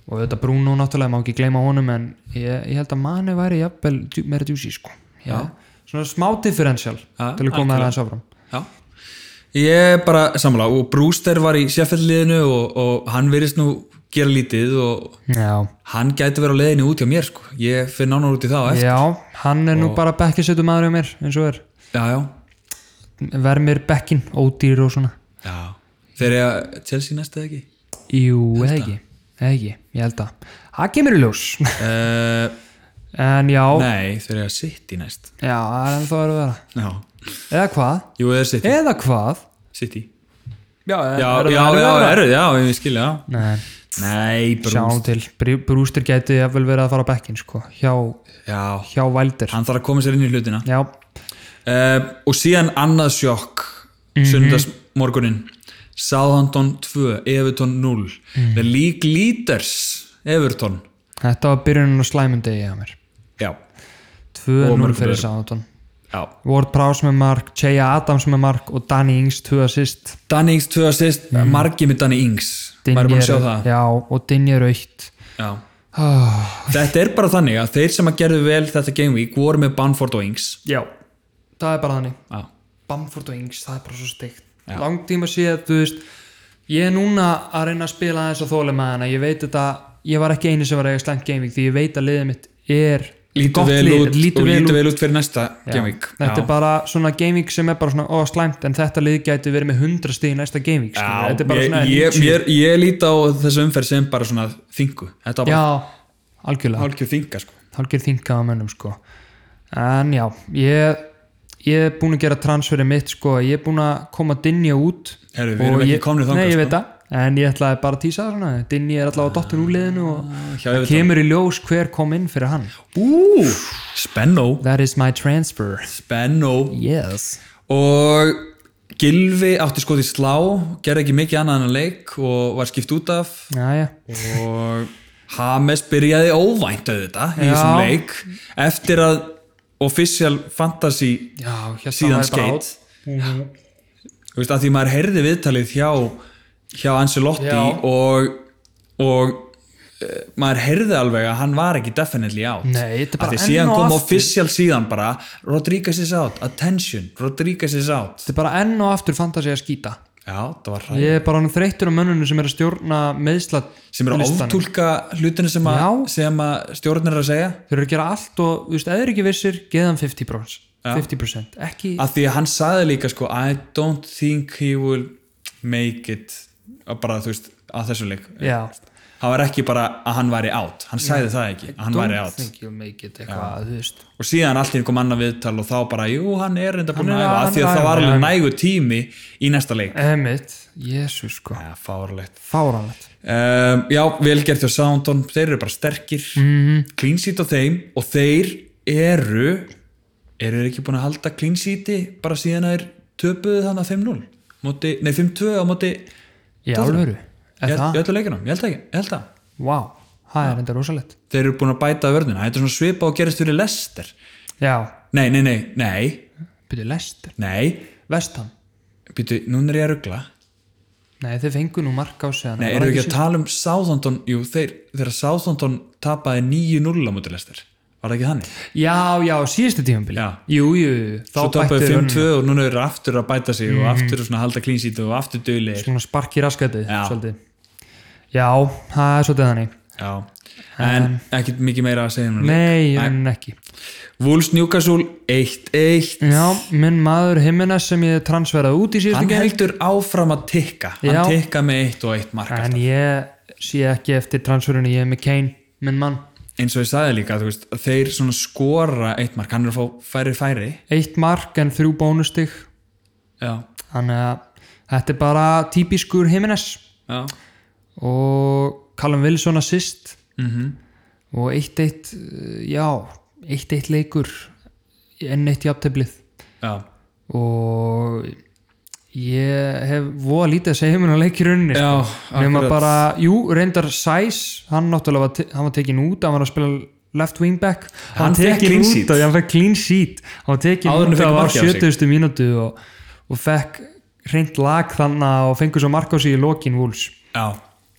S2: og þetta Bruno náttúrulega, má ekki gleyma honum en ég, ég held að Mane væri jafnvel djú- meira djúsi sko Já. svona smá differential
S1: Já,
S2: til að koma það aðeins áfram
S1: já ég er bara samla og Brewster var í sérfellliðinu og, og hann virðist nú gera lítið og
S2: Já.
S1: hann gæti verið á leiðinu út hjá mér sko. ég finn nánar út í það á eftir
S2: Já, hann er nú bara bekkisettum aður hjá mér eins og er,
S1: já, já,
S2: vermir bekkin ódýr og svona
S1: já. þegar ég að Chelsea næstu ekki
S2: Jú, eða ekki, eða ekki, ég held að það kemur í ljós
S1: uh,
S2: en já,
S1: nei, þegar ég að City næst
S2: Já, það er ennþá að vera
S1: já, Eh?
S2: Eða hvað?
S1: jú, eða City
S2: Eða hvað?
S1: City
S2: Já,
S1: já, já, já, eru, já, ég skil, já
S2: Nei,
S1: nei,
S2: sjáum
S1: Brewster
S2: til Br- Brewster gæti jafnvel verið að fara á bekkin sko, hjá,
S1: já,
S2: hjá Valdir
S1: hann þarf að koma sér inn í hlutina
S2: Já,
S1: uh, og síðan annað sjokk mm -hmm. sundagsmorgunin Southampton 2, Everton 0 The League Leaders Everton
S2: þetta var byrjunin á slæmundegi hjá mér
S1: já,
S2: 2-0
S1: mörgum
S2: fyrir
S1: öðrum.
S2: Sáðantón
S1: já.
S2: Ward Prowse með mark, Cheya Adams með mark og Danny Ings 2 assist
S1: Danny Ings 2 assist, mm. margi með Danny Ings maður er búin að sjá það
S2: Já, og Dinja Raukt
S1: já.
S2: oh,
S1: þetta er bara þannig að þeir sem að gerðu vel þetta game week voru með Banford og Ings
S2: Já, það er bara þannig
S1: já,
S2: Bamford og Ings, það er bara svo steikt langtíma síðan, þú veist ég er núna að reyna að spila aðeins að þóla með hana, ég veit þetta, ég var ekki eini sem var að eiga slæmt gaming því ég veit að liðið mitt er
S1: lítur
S2: gott
S1: vel
S2: lið,
S1: út og lítur vel út fyrir næsta
S2: Já.
S1: game week
S2: þetta
S1: já.
S2: er bara svona gaming sem er bara svona ó slæmt en þetta lið gæti verið með 100 stíð í næsta gaming, skilur,
S1: Já,
S2: þetta er
S1: ég,
S2: bara svona
S1: ég, ég, ég líti á þessu umferð sem bara svona þingu þetta var bara
S2: já, algjörlega
S1: hálfkjör þinga sko.
S2: hálfgerð þingað á mönnum sko en já, ég ég er búin að gera transferið mitt sko ég er búin að koma Dinja út
S1: Herru, við erum
S2: og
S1: ekki
S2: ég-
S1: komnir þangað,
S2: nei, ég
S1: sko.
S2: veit það en ég ætlaði bara að tísa það svona Dinja er allavega dottin úr liðinu og
S1: hjá Everton.
S2: kemur í ljós hver kom inn fyrir hann
S1: Ú, spennó
S2: that is my transfer
S1: Spennó
S2: yes
S1: Og Gilvi átti skotið slá gerði ekki mikið annað en að leik og var skipt út af
S2: já, já.
S1: og Hames byrjaði óvænt auðvitað í
S2: Já.
S1: þessum leik eftir að Official Fantasy
S2: já hérna
S1: síðan
S2: væri bara
S1: skeitt Þú veist að því maður heyrði viðtalið hjá hjá Ancelotti
S2: Já.
S1: og, og eh, maður heyrði alveg að hann var ekki definitely out
S2: Nei, þetta er bara
S1: Af því
S2: enn
S1: síðan
S2: og
S1: kom
S2: aftur.
S1: official síðan bara Rodríguez is out, attention Rodríguez is out
S2: þetta er bara enn og aftur fantasi að skýta
S1: Já, það var ræð
S2: ég er bara hann þreyttur á mönnunum sem er að stjórna meðsla
S1: sem er að oftúlka hlutinu sem, a,
S2: Já.
S1: sem að stjórnir er að segja
S2: þeir eru að gera allt og þú veist, eða er ekki vissir geða hann 50%, 50%. ekki
S1: af því að hann sagði líka sko I don't think he will make it að bara þú veist að þessu leik
S2: já,
S1: það var ekki bara að hann væri out hann sagði það ekki, að hann væri
S2: don't
S1: out
S2: think you'll make it eitthvað, þú veist
S1: og síðan allir kom annað viðtal og þá bara jú, hann er reynda búin að
S2: Hann er-
S1: æfa af
S2: hann
S1: því
S2: er
S1: að
S2: að
S1: það var
S2: æfa,
S1: alveg nægu tími í næsta leik
S2: emitt, jésu sko
S1: ja, fárlegt
S2: fáránlegt,
S1: um, Já, velgert hjá Soundon þeir eru bara sterkir
S2: Mhm.
S1: clean sheet á þeim og þeir eru eru þeir ekki búin að halda clean sheeti bara síðan að þeir töpuðu þannig að 5-0 móti, nei 5-2 á móti
S2: í alvöru
S1: ég
S2: er
S1: ég
S2: það,
S1: held að leikunum, ég held ekki, ég held að
S2: vá, það er enda rosalegt
S1: þeir eru búin að bæta vörðina, þetta er svona svipa og gerist fyrir lester
S2: já,
S1: nei, nei, nei, nei,
S2: byrju lestir,
S1: nei
S2: vestan
S1: býtu, núna er ég að ruggla
S2: nei, þeir fengu nú mark á sig
S1: nei, eru við ekki að tala um Southampton, jú, þeir þegar Southampton tapaði 9-0 á móti lester Var það ekki þannig?
S2: já, já, síðustu tímabili
S1: Já.
S2: jú, jú, jú, þá
S1: Svo
S2: bættu
S1: töpuðu
S2: þeir um Mhm.
S1: 5-2 og núna eru aftur að bæta sig og aftur svona halda klínsít og aftur dölir
S2: svona sparki raskatið
S1: Já.
S2: svolítið. já, það er svolítið þannig
S1: Já, en ekkert mikið meira að segja um það.
S2: nei, en ekki
S1: Wolves Newcastle 1-1
S2: já, minn maður Jimenez sem ég transferaði út í síðustu
S1: Hann
S2: game
S1: heldur áfram að tikka
S2: Já.
S1: Hann tikka með 1 og 1 marka
S2: en ég sé ekki eftir transferinu ég er með Kane, minn mann
S1: eins og ég sagði líka, þú veist, þeir svona skora 1 mark, hann er að fá færi færi
S2: eitt mark en þrjú bónustig
S1: Já,
S2: þannig að þetta er bara típiskur Jimenez
S1: já
S2: og Callum Wilson assist -hmm. og 1-1 eh, já, 1-1 leikur enn eitt jafnteflið
S1: Já,
S2: og ég hef voða lítið að segja um heimin á leikirunni
S1: já
S2: sko. nema
S1: akkurat.
S2: bara, jú, reyndar Sæs hann náttúrulega var, te- hann var tekin út hann var að spila left wing back
S1: Hann fékk
S2: tekin
S1: clean
S2: út
S1: sheet.
S2: af- hann fekk clean sheet hann var tekin
S1: Áður en hann
S2: út af
S1: fékk
S2: á
S1: markið á sig.
S2: 70. mínútu og, og fekk reynd lag þannig að- og fengur svo mark á sig í lokin vúls
S1: Já,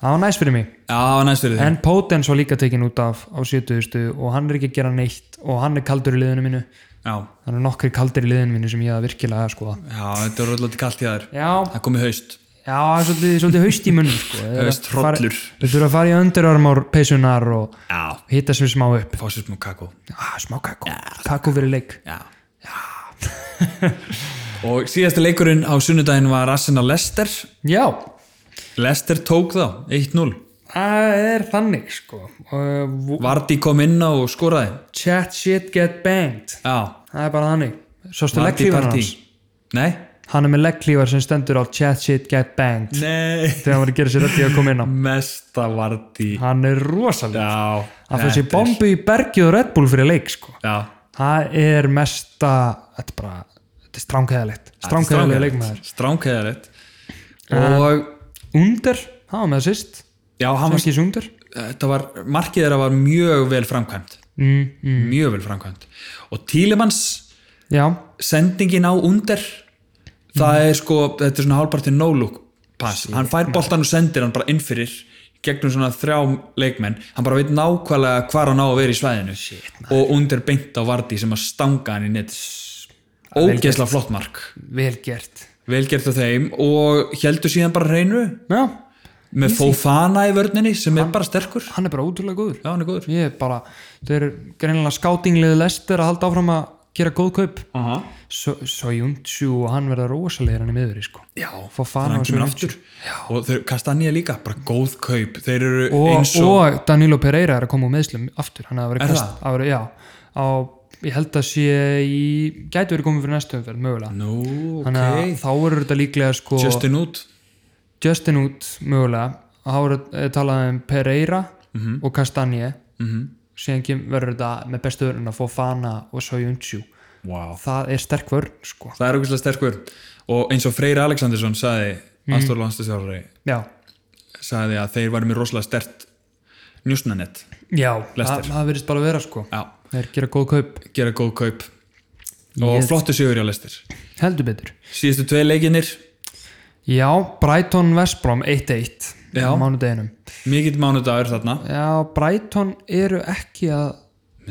S2: það var næst fyrir mig
S1: já næst fyrir þig
S2: en Potens var líka tekin út af á 70. og hann er ekki að gera neitt og hann er kaldur í liðinu mínu
S1: Já,
S2: hann er nokkri kaldur í liðinu mínu sem ég að virkilega sko. að skoða
S1: já, þetta er alltaf kallt í þær
S2: já,
S1: Það komið haust
S2: Já, það er svolítið, svolítið haust í munni sko. Þeir eru að
S1: Hausthrollur.
S2: fara- Þeir þurfa að fara í öndurarmár peysunar og
S1: Já,
S2: hitta sem smá upp
S1: fá sér smá kakó
S2: ah, Smá kakó, kakó fyrir leik
S1: Já, (laughs) Og síðasta leikurinn á sunnudaginn var Arsenal Leicester
S2: Já,
S1: Leicester tók þá, 1-0
S2: það er þannig sko. uh,
S1: Vardí kom inn á og skoraði
S2: Chat shit get banged
S1: Já,
S2: Það er bara þannig Sástu
S1: Vardí
S2: leggklífar
S1: partí
S2: hans
S1: Nei
S2: Hann er með leggklífar sem stendur á chat shit get
S1: Mm.
S2: banged
S1: Nei
S2: Þegar hann var að gera sér þetta að koma inn á
S1: Mm. Mesta Vardí
S2: Hann er rosalega
S1: Já
S2: Hann fyrir sér
S1: þetta er-
S2: bombu í bergið og Red Bull fyrir leik sko.
S1: Já
S2: Það er mesta Þetta er bara, þetta er stránkæðalegt Stránkæðalega leikmaður
S1: Stránkæðalegt Og
S2: Under, það var með sýst
S1: Já, hann var
S2: Sankis Under
S1: þetta Eh, var, markið þeirra var mjög vel framkvæmt
S2: mm, mm.
S1: mjög vel framkvæmt og Tílemanns
S2: Já,
S1: sendingin á undir það
S2: Mm.
S1: er sko, þetta er svona hálfpartin no look pass, hann fær boltan og sendir hann bara inn fyrir gegnum svona þrjá leikmenn, hann bara veit nákvæmlega hvar hann á að vera í svæðinu Shit, og undir beint á Vardí sem að stanga hann í nett ógeðslega flott mark
S2: vel gert
S1: velgert á þeim og heldur síðan bara hreinu
S2: Já,
S1: með Fofana í vörninni sem er bara sterkur
S2: hann er bara ótrúlega góður
S1: já, hann er góður
S2: Ég er bara, þau eru greinilega skátingliði lestir að halda áfram að gera góð kaup
S1: uh -huh.
S2: Sojuntsu og hann verða rosalegir hann í miðurri sko
S1: Já, þannig að hann
S2: Fofana og
S1: kemur
S2: Soyuncu.
S1: aftur og þeir Kastanja líka, bara góð kaup þeir eru
S2: og,
S1: eins og,
S2: og Danilo Pereira er að koma úr meðslum aftur hann að vera
S1: Er
S2: kast að vera, já, á, ég held að sé í, gæti verið komið fyrir næstu umferð mögulega,
S1: nú, ok
S2: þannig að þá eru þetta líklega sko
S1: Justin út
S2: Justin út mögulega þá voru eh, talað um Pereira
S1: Mhm.
S2: og Kastanje síðan kem- verður þetta með bestu vörun að fá Fana og Soyuncu
S1: wow.
S2: það er sterk vörn sko
S1: það er okkurlega sterkur og eins og Freyr Alexandersson sagði mm. Astor Landstæðsjálfari
S2: já,
S1: sagði að þeir væri með rosalega stert njúsnanett
S2: já
S1: Leicester.
S2: það, það verðist bara að vera sko
S1: já,
S2: þeir gera góð kaup,
S1: gera góð kaup og
S2: Yes.
S1: flottu sigur hjá Lester
S2: heldur betur
S1: síðustu tvei leikinir,
S2: já, Brighton Vestbrom 1-1
S1: Já.
S2: á mánudeginum
S1: mikill mánudagur þarna
S2: já, Brighton eru ekki að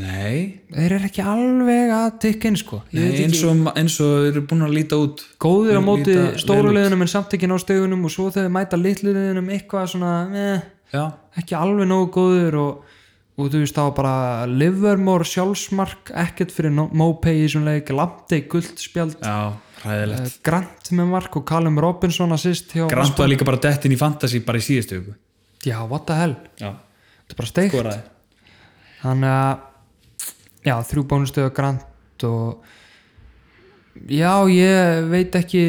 S1: nei,
S2: þeir eru ekki alveg að tikka inn sko Ég veit
S1: nei
S2: ekki-
S1: eins, og, eins og þeir eru búin að líta út
S2: góðir á
S1: Þeir
S2: móti
S1: líta
S2: stóru
S1: vel út.
S2: liðunum en samt ekki ná stegunum og svo þegar þeir mæta litlu liðunum eitthvað svona eh,
S1: já,
S2: ekki alveg nógu góður og, og þú veist þá var bara Livermore sjálfsmark ekkert fyrir no- Mopey í svona leik Lamptey guldspjald
S1: já, ræðilegt
S2: eh, Grant með mark og Callum Robinson assist hjá
S1: Grant var líka bara dett inn í fantasy bara í síðustu hugu
S2: já what the hell
S1: Já,
S2: þetta er bara steik
S1: skoraði
S2: þannig að já þrjú bónustöðu Grant og já ég veit ekki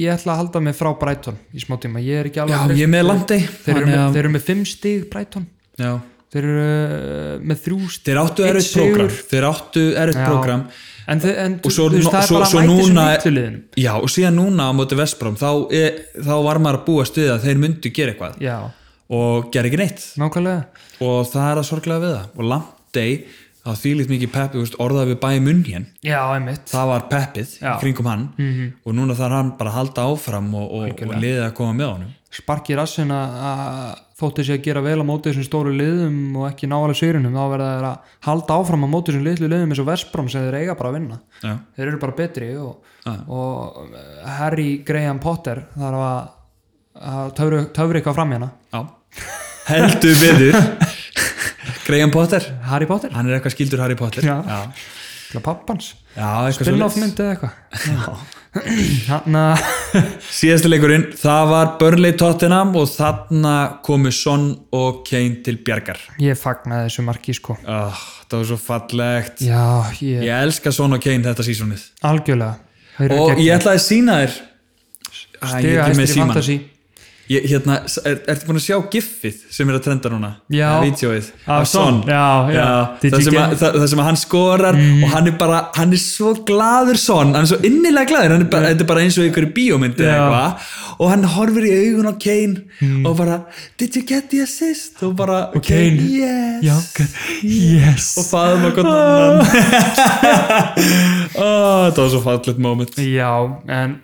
S2: ég ætla að halda mig frá Brighton í smá tíma ég er ekki alveg
S1: Já,
S2: hreinn.
S1: ég er með Lamptey
S2: Þeir eru,
S1: Þannig
S2: með,
S1: að-
S2: þeir eru með fimm stig Brighton
S1: Já.
S2: Þeir eru uh, með þrjú stig
S1: Þeir áttu
S2: Einn
S1: erut
S2: sigur.
S1: program Þeir áttu erut
S2: Já.
S1: program
S2: En, þe en
S1: Og svo,
S2: þú veist,
S1: no-
S2: það er
S1: svo,
S2: bara
S1: svo
S2: að mæta þessum
S1: núna
S2: vitluliðin
S1: Já, og síðan núna á móti Vestbróm þá, er, þá var maður að búa stuðið að þeir myndu gera eitthvað
S2: Já,
S1: og gera ekki neitt
S2: nákvæmlega
S1: og það er að sorglega við það og Lamptey, þá þýlít mikið Peppi veist, orðaði við bæði munn hér
S2: Já, einmitt
S1: það var Peppið í
S2: Já. Mhm.
S1: kringum hann -hmm. og núna þarf hann bara að halda áfram og, og, og liðið að koma með honum
S2: Sparki rassin að að þótti sé að gera vel á móti þessum stóru liðum og ekki návalega sérunum þá verða þeir að halda áfram á móti þessum litlu liðum eins og Vesbrom sem þeir eiga bara að vinna
S1: já,
S2: þeir eru bara betri og,
S1: Já.
S2: og eh, Harry Graham Potter þarf að, að töfru, töfru eitthvað fram hérna
S1: já. (laughs) heldur betur Graham Potter
S2: Harry Potter,
S1: hann er eitthvað skildur Harry Potter
S2: Já.
S1: já.
S2: til að pappans
S1: Já, eitthvað
S2: spin-off
S1: svoleiðis.
S2: mynd eða eitthvað (clears throat) hann að
S1: síðasti leikurinn, það var Burnley Tottenham og þarna komu Son og Kane til bjargar
S2: (laughs) ég fagnaði þessu marki sko
S1: oh, það var svo fallegt
S2: já, ég,
S1: ég elska Son og Kane þetta sísónið
S2: algjörlega Þeir eru
S1: og
S2: gegn-
S1: ég ætlaði að sína þér Æ, ég er ekki
S2: stiga
S1: með
S2: hæstir í
S1: símann.
S2: fantasy
S1: Ég, hérna, s- er, ertu búin að sjá giffið sem er að trenda núna?
S2: Já.
S1: Vídeóið
S2: Af Son. Já, já. Did
S1: Það
S2: you
S1: sem, að,
S2: get- Mm.
S1: það, það sem að hann skorar og hann er bara, hann er svo gladur Son, hann er svo innilega gladur, hann er bara, þetta er bara eins og í einhverju bíómyndi eða
S2: Mm. Já. Mm.
S1: eitthvað og hann horfir í augun á Kane og bara, did you get the assist? Og bara,
S2: Og Kane,
S1: yes.
S2: já, ok. yes
S1: Og faðum að gott annan. (laughs) oh, það var svo fallet moment.
S2: já, en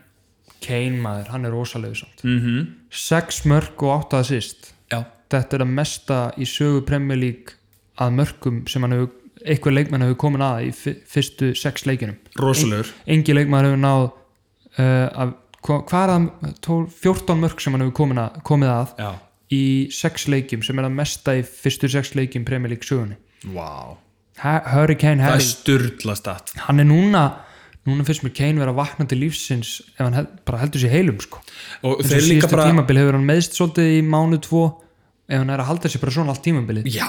S2: Kane maður, hann er rosalega samt
S1: Mm -hmm.
S2: 6 mörg og 8 assist
S1: Já.
S2: þetta er að mesta í sögu Premier League að mörgum sem hann hefur eitthvað leikmann hefur komin að í fi- fyrstu sex leikinum
S1: Rosalegur.
S2: engi leikmann hefur náð uh, að, hva- hvað er það 12, 14 mörg sem hann hefur komin að, komið að
S1: Já.
S2: í sex leikjum sem er að mesta í fyrstu sex leikjum Premier League sögunni
S1: Wow.
S2: ha Hurricane
S1: Það er
S2: Harry,
S1: sturdla statt.
S2: hann er núna núna finnst mér Kane vera að vakna til lífsins ef hann hef, bara heldur sér heilum sko
S1: Og
S2: eins
S1: þeir
S2: og
S1: líka
S2: síðustu
S1: bara...
S2: tímabil hefur hann meðst svolítið í mánu tvo ef hann er að halda sér bara svona allt tímabilið
S1: Já,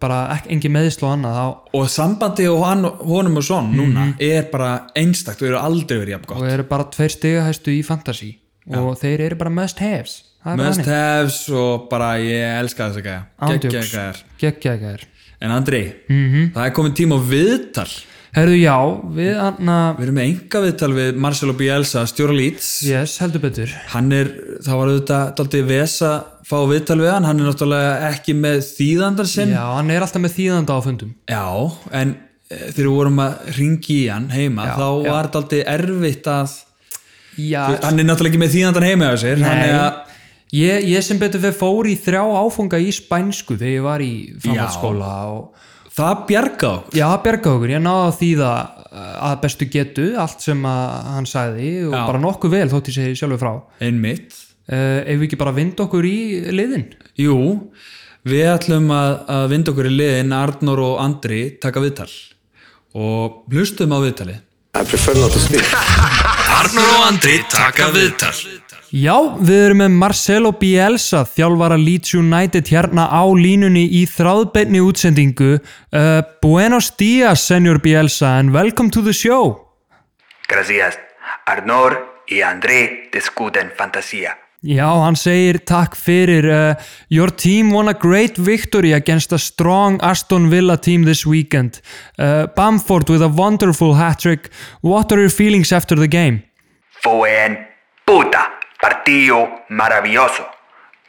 S2: bara ekki, engin meðsl og annað þá,
S1: og sambandi og hann, honum og son núna er bara einstakt og eru aldrei verið jafn gott
S2: Mhm. og eru bara tveir stigahæstu í fantasy og þeir eru bara must haves það er
S1: must
S2: must
S1: haves og bara ég elska þess að gæja
S2: Ándjóks.
S1: Geggjaðir gæjar.
S2: geggjæðgæðir
S1: en Andri,
S2: Mhm.
S1: -hmm. það er komin tíma á viðtal
S2: herðu já, við anna
S1: við erum með enga viðtal við Marcelo Bielsa stjóra Leeds
S2: yes, heldur betur
S1: hann er, það var auðvitað daldið ves að fá viðtal við hann, hann er náttúrulega ekki með þýðandan sinn
S2: já, hann er alltaf með þýðanda á fundum
S1: Já, en eh, þegar við vorum að ringi í hann heima þá
S2: já.
S1: var daldið erfitt að
S2: já, eh,
S1: hann er náttúrulega ekki með þýðandan heima á sér hann er að
S2: ég, ég sem betur fyrir fór í þrjá áfunga í spænsku þegar ég var í framhaldsskóla og
S1: Það bjarga okkur.
S2: Já, bjarga okkur, ég náði að þýða uh, að bestu getu allt sem að hann sagði og
S1: Já.
S2: bara nokkuð vel þótt ég segi sjálfur frá.
S1: Einmitt.
S2: Uh, ef við ekki bara vind okkur í liðin?
S1: Jú, við ætlum að, að vinda okkur í liðin Arnór og Andri taka viðtal og hlustum á viðtali.
S3: I prefer not to speak.
S1: Arnór og Andri taka viðtal.
S2: Já, við erum með Marcelo Bielsa, þjálfara Leeds United hérna á línunni í þráðbeinni útsendingu. Uh, buenos dias, senor Bielsa, and welcome to the show.
S4: Gracias. Arnor y André discuten fantasía.
S2: Já, hann segir takk fyrir uh, Your team won a great victory against a strong Aston Villa team this weekend uh, Bamford with a wonderful hat-trick What are your feelings after the game?
S4: Fue en puta partido maravilloso.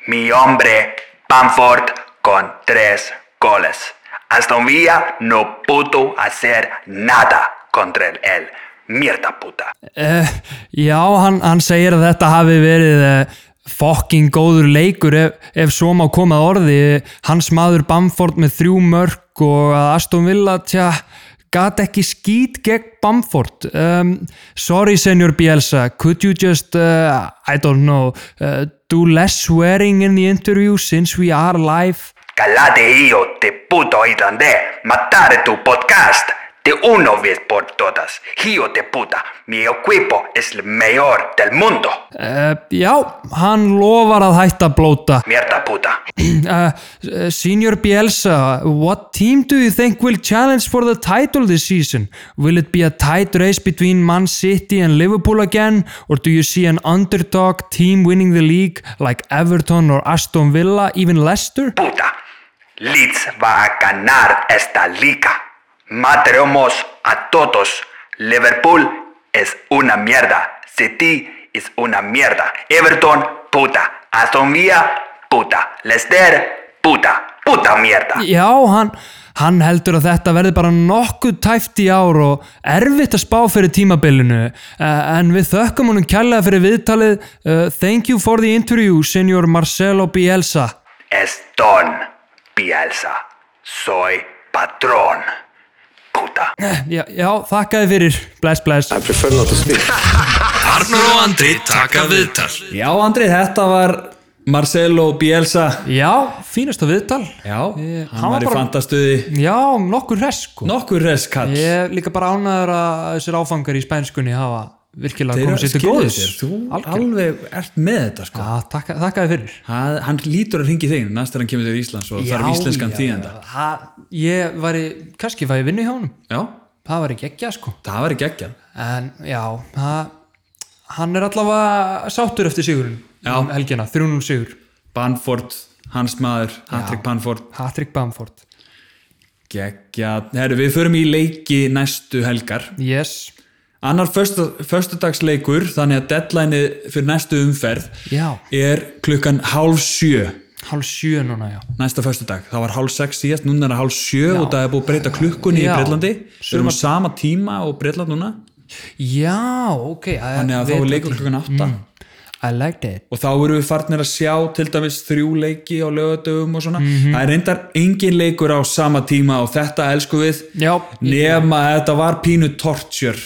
S4: Mi hombre Bamford con tres goles. Aston Villa no pudo hacer nada contra él. Mierda puta.
S2: Uh, já, hann, hann segir að þetta hafi verið uh, fucking góður leikur ef, ef svo má koma að orði hans maður Bamford með þrjú mörk og að Aston Villa tja, gat ekki skýt gegn Bamford um, sorry senor Bielsa could you just, uh, I don't know uh, do less swearing in the interview since we are live
S4: Calate hijo de puto y donde matar tu podcast de una vez por todas. Hijo de puta, mi equipo es el mejor del mundo.
S2: uh, já, hann lofar að hætta að blóta
S4: Mierda puta.
S2: uh, uh, Senior Bielsa, what team do you think will challenge for the title this season? Will it be a tight race between Man City and Liverpool again? Or do you see an underdog team winning the league like Everton or Aston Villa, even Leicester?
S4: puta. Leeds va a ganar esta liga. Mataremos a todos. Liverpool es una mierda. City es una mierda. Everton, puta. Aston Villa, puta. Leicester, puta. Puta mierda.
S2: Já, hann, hann heldur að þetta verði bara nokkuð tæft í ár og erfitt að spá fyrir tímabilinu uh, en við þökkum honum kærlega fyrir viðtalið uh, Thank you for the interview, Senior Marcelo Bielsa
S4: Es Bielsa. Soy patrón. Puta.
S2: já, já, þakkaði fyrir, bless bless
S3: prefer not to speak.
S5: Arnur og Andri taka viðtal
S1: Já, Andri, þetta var Marcelo Bielsa
S2: já, fínasta viðtal
S1: Já, hann
S2: Ég- hann var
S1: var í
S2: bara-
S1: fantastuði
S2: já, nokkur hress sko
S1: Nokkur reskall
S2: ég er líka bara ánæður að þessir áfangar í spænskunni hafa virkilega komið sér til góðs
S1: Þú
S2: Algjörlega.
S1: alveg ert með þetta sko.
S2: Já, þakka- þakkaði fyrir
S1: hann, hann lítur að ringi þig næst þegar hann kemur til Íslands og
S2: Já,
S1: þarf íslenskan
S2: já,
S1: tíðanda
S2: já. Ha, ég væri, kannski fæði vinnu hjá honum
S1: Já,
S2: það var ekki ekki sko
S1: það var ekki ekki
S2: en já, ha, hann er allavega sáttur eftir sigurinn
S1: Já.
S2: um helgina, 300 sigur
S1: Banford, hans maður, Patrick Banford
S2: Patrick Bamford,
S1: Gekja, herru, við förum í leiki næstu helgar
S2: yes
S1: Annar föstu- föstudagsleikur, þannig að deadlineið fyrir næstu umferð
S2: Já.
S1: er klukkan hálf sjö
S2: hálf sjö núna, já
S1: næsta föstudag. Það var hálf sex síðast, núna er það hálf sjö og það er búið að breyta klukkunni
S2: Já.
S1: í Breitlandi. Við erum á
S2: Sumar-
S1: sama tíma og Breitland núna,
S2: já, ok I-
S1: þannig að þá
S2: veit
S1: er leikur klukkan átta.
S2: Mm. I like that
S1: Og þá eru við farnir að sjá til dæmis þrjú leiki á lögadöfum og svona. Það er reyndar engin leikur á sama tíma og þetta elsku við.
S2: já,
S1: Nefn að þetta var pínu torture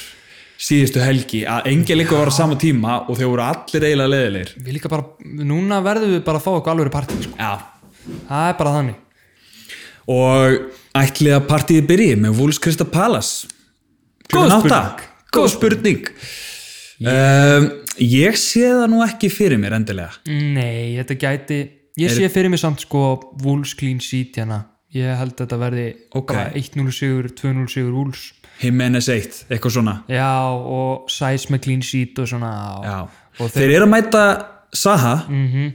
S1: síðustu helgi að engin leikur var á sama tíma og þeir voru allir eiginlega leðilegir
S2: við líka bara, núna verðum við bara að fá eitthvað alveg partí, sko.
S1: Já.
S2: það er bara þannig
S1: og ætli að partíið byrji með Wolves Krista Palace Klukkan átta. góð spurning um, ég sé það nú ekki fyrir mér endilega
S2: Nei, þetta gæti Ég sé fyrir mig samt sko Wolves clean sheet hérna Ég held að þetta verði
S1: Ok.
S2: bara 1-0 sigur 2-0 sigur Wolves
S1: Jimenez 1, eitthvað svona
S2: Já, og Sæs með clean sheet og svona og,
S1: Já.
S2: og Mhm.
S1: þeir eru að mæta Saha mm -hmm.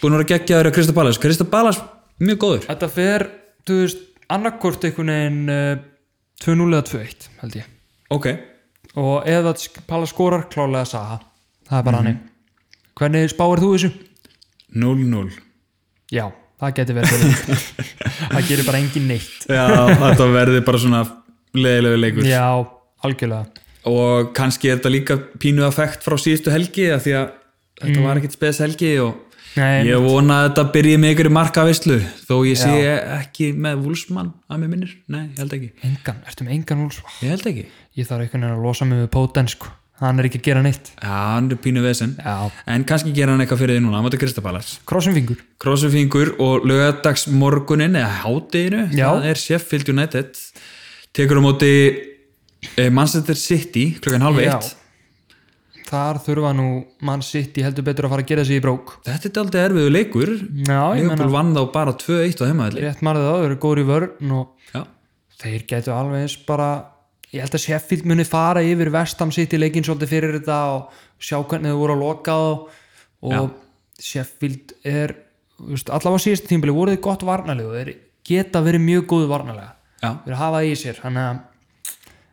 S1: búin að vera geggjaður að Krista Palace Krista Palace, mjög góður
S2: Þetta fer, þú veist, annarkort einhvern veginn uh, 2-0 eða 2-1 held ég
S1: ok,
S2: og ef það sk- Pala skorar klálega Saha Það er bara mm Hvernig spáir þú þessu?
S1: 0-0
S2: Já, það gæti verið fyrir. (laughs) Það gerir bara engin neitt
S1: já, (laughs) þetta verði bara svona leðilegu leikur
S2: Já, algjörlega
S1: og kannski er þetta líka pínu effekt frá síðustu helgi af því að þetta var ekkit spes helgi og
S2: Mm. Nei,
S1: ég vona að þetta byrji með ykkur markavislu þó ég sé
S2: Já.
S1: ekki með vúlsmann að mér minnir, nei, ég held ekki
S2: Engan, ertu með engan Wolves?
S1: ég held ekki, já,
S2: ég þarf einhvern veginn að losa mig við Póten sko. hann er ekki að gera neitt
S1: hann er pínu vesen
S2: Já.
S1: en kannski gera hann eitthvað fyrir því núna, hann mæta Kristapalas
S2: krossum fingur
S1: Krossfingur og lögadagsmorgunin eða hátteginu,
S2: Já.
S1: það er Sheffield United tekur á móti eh, Manchester City klukkan halv
S2: Já.
S1: eitt
S2: þar þurfa nú mann sitt í heldur betur að fara að gera sig í brók
S1: þetta er aldrei erfiðu leikur
S2: Já, ég
S1: Liverpool
S2: meina-
S1: vann þá bara 2-1 á heimaðli
S2: rétt marðið á, þau eru góður í vörn og
S1: Já,
S2: þeir getur alveg eins bara ég held að Sheffield muni fara yfir vestam sitt í leikin svolítið fyrir þetta og sjá hvernig þau voru að loka og, og Sheffield er þú veist, allavega síðast tímbili voru þið gott varnalið og þeir geta verið mjög góðu varnalega
S1: Já.
S2: þeir hafa það í sér hann að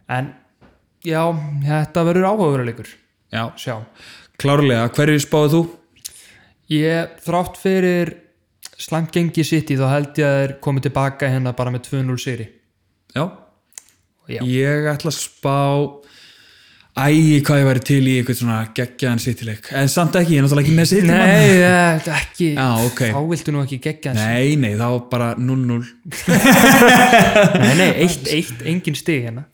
S2: en já, þetta verður áhugaveruleikur
S1: já,
S2: sjá
S1: klárlega, hverju spáðu þú?
S2: ég þrátt fyrir slæmt gengi sitt í þá held ég að þeir komið tilbaka hérna bara með 2-0 sýri
S1: Já,
S2: Já.
S1: ég ætla að spá Æ, hvað ég væri til í eitthvað svona geggjaðan sittileik En samt ekki, ég er náttúrulega ekki með sittileik
S2: nei, eh, ekki
S1: Já, ok.
S2: þá viltu nú ekki gegja hans
S1: Nei, nei, þá bara 0-0
S2: nei, nei, eitt, eitt, engin stig hérna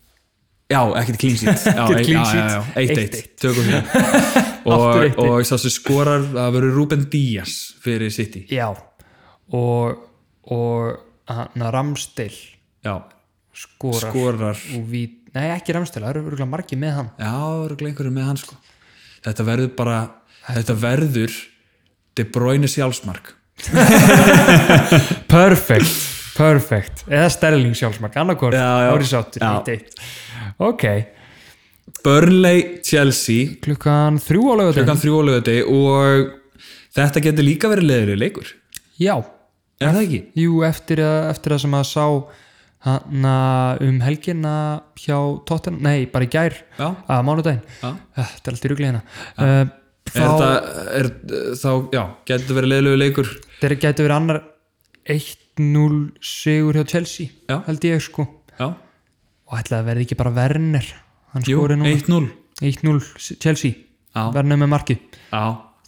S1: Já, ekkert clean
S2: (laughs)
S1: sheet Já,
S2: Ekkert clean
S1: já,
S2: sheet.
S1: já, já, 1-1,
S2: 1-1. (laughs)
S1: tökum því
S2: Aftur
S1: Og,
S2: 1-1.
S1: og sá sem skorar að veru Ruben Díaz fyrir City
S2: já og, og hann Ramstil
S1: Já,
S2: skorar,
S1: skorar
S2: og við, nei ekki Ramstil, það eru örugglega margir með hann
S1: Já, örugglega einhverju með hann sko Þetta verður bara Þetta verður De Bruyne sjálfsmark
S2: Perfect, perfect eða Sterling sjálfsmark, annarkort
S1: Já, já.
S2: áriðsáttur,
S1: Já.
S2: 1-1 ok,
S1: Burnley, Chelsea
S2: klukkan þrjú á
S1: Klukkan
S2: lögatum
S1: þrjú á lögati og Þetta getur líka verið leðurlega leikur
S2: já,
S1: Er það ekki?
S2: Jú, eftir að, eftir að sem að sá hana um helgina hjá Tottenham, nei, bara í gær
S1: Já.
S2: að mánudaginn,
S1: Já.
S2: þetta er alltaf í rugli hérna uh, þá,
S1: Er þetta, er, þá, já, getur verið leðurlega leikur
S2: þeirra gæti verið annar 1-0 sigur hjá Chelsea
S1: Já.
S2: held ég sko og
S1: Já,
S2: ætlaði að verði ekki bara Werner hann
S1: jú,
S2: skori núna
S1: 1-0
S2: 1-0 Chelsea,
S1: Já.
S2: Werner með marki
S1: Já,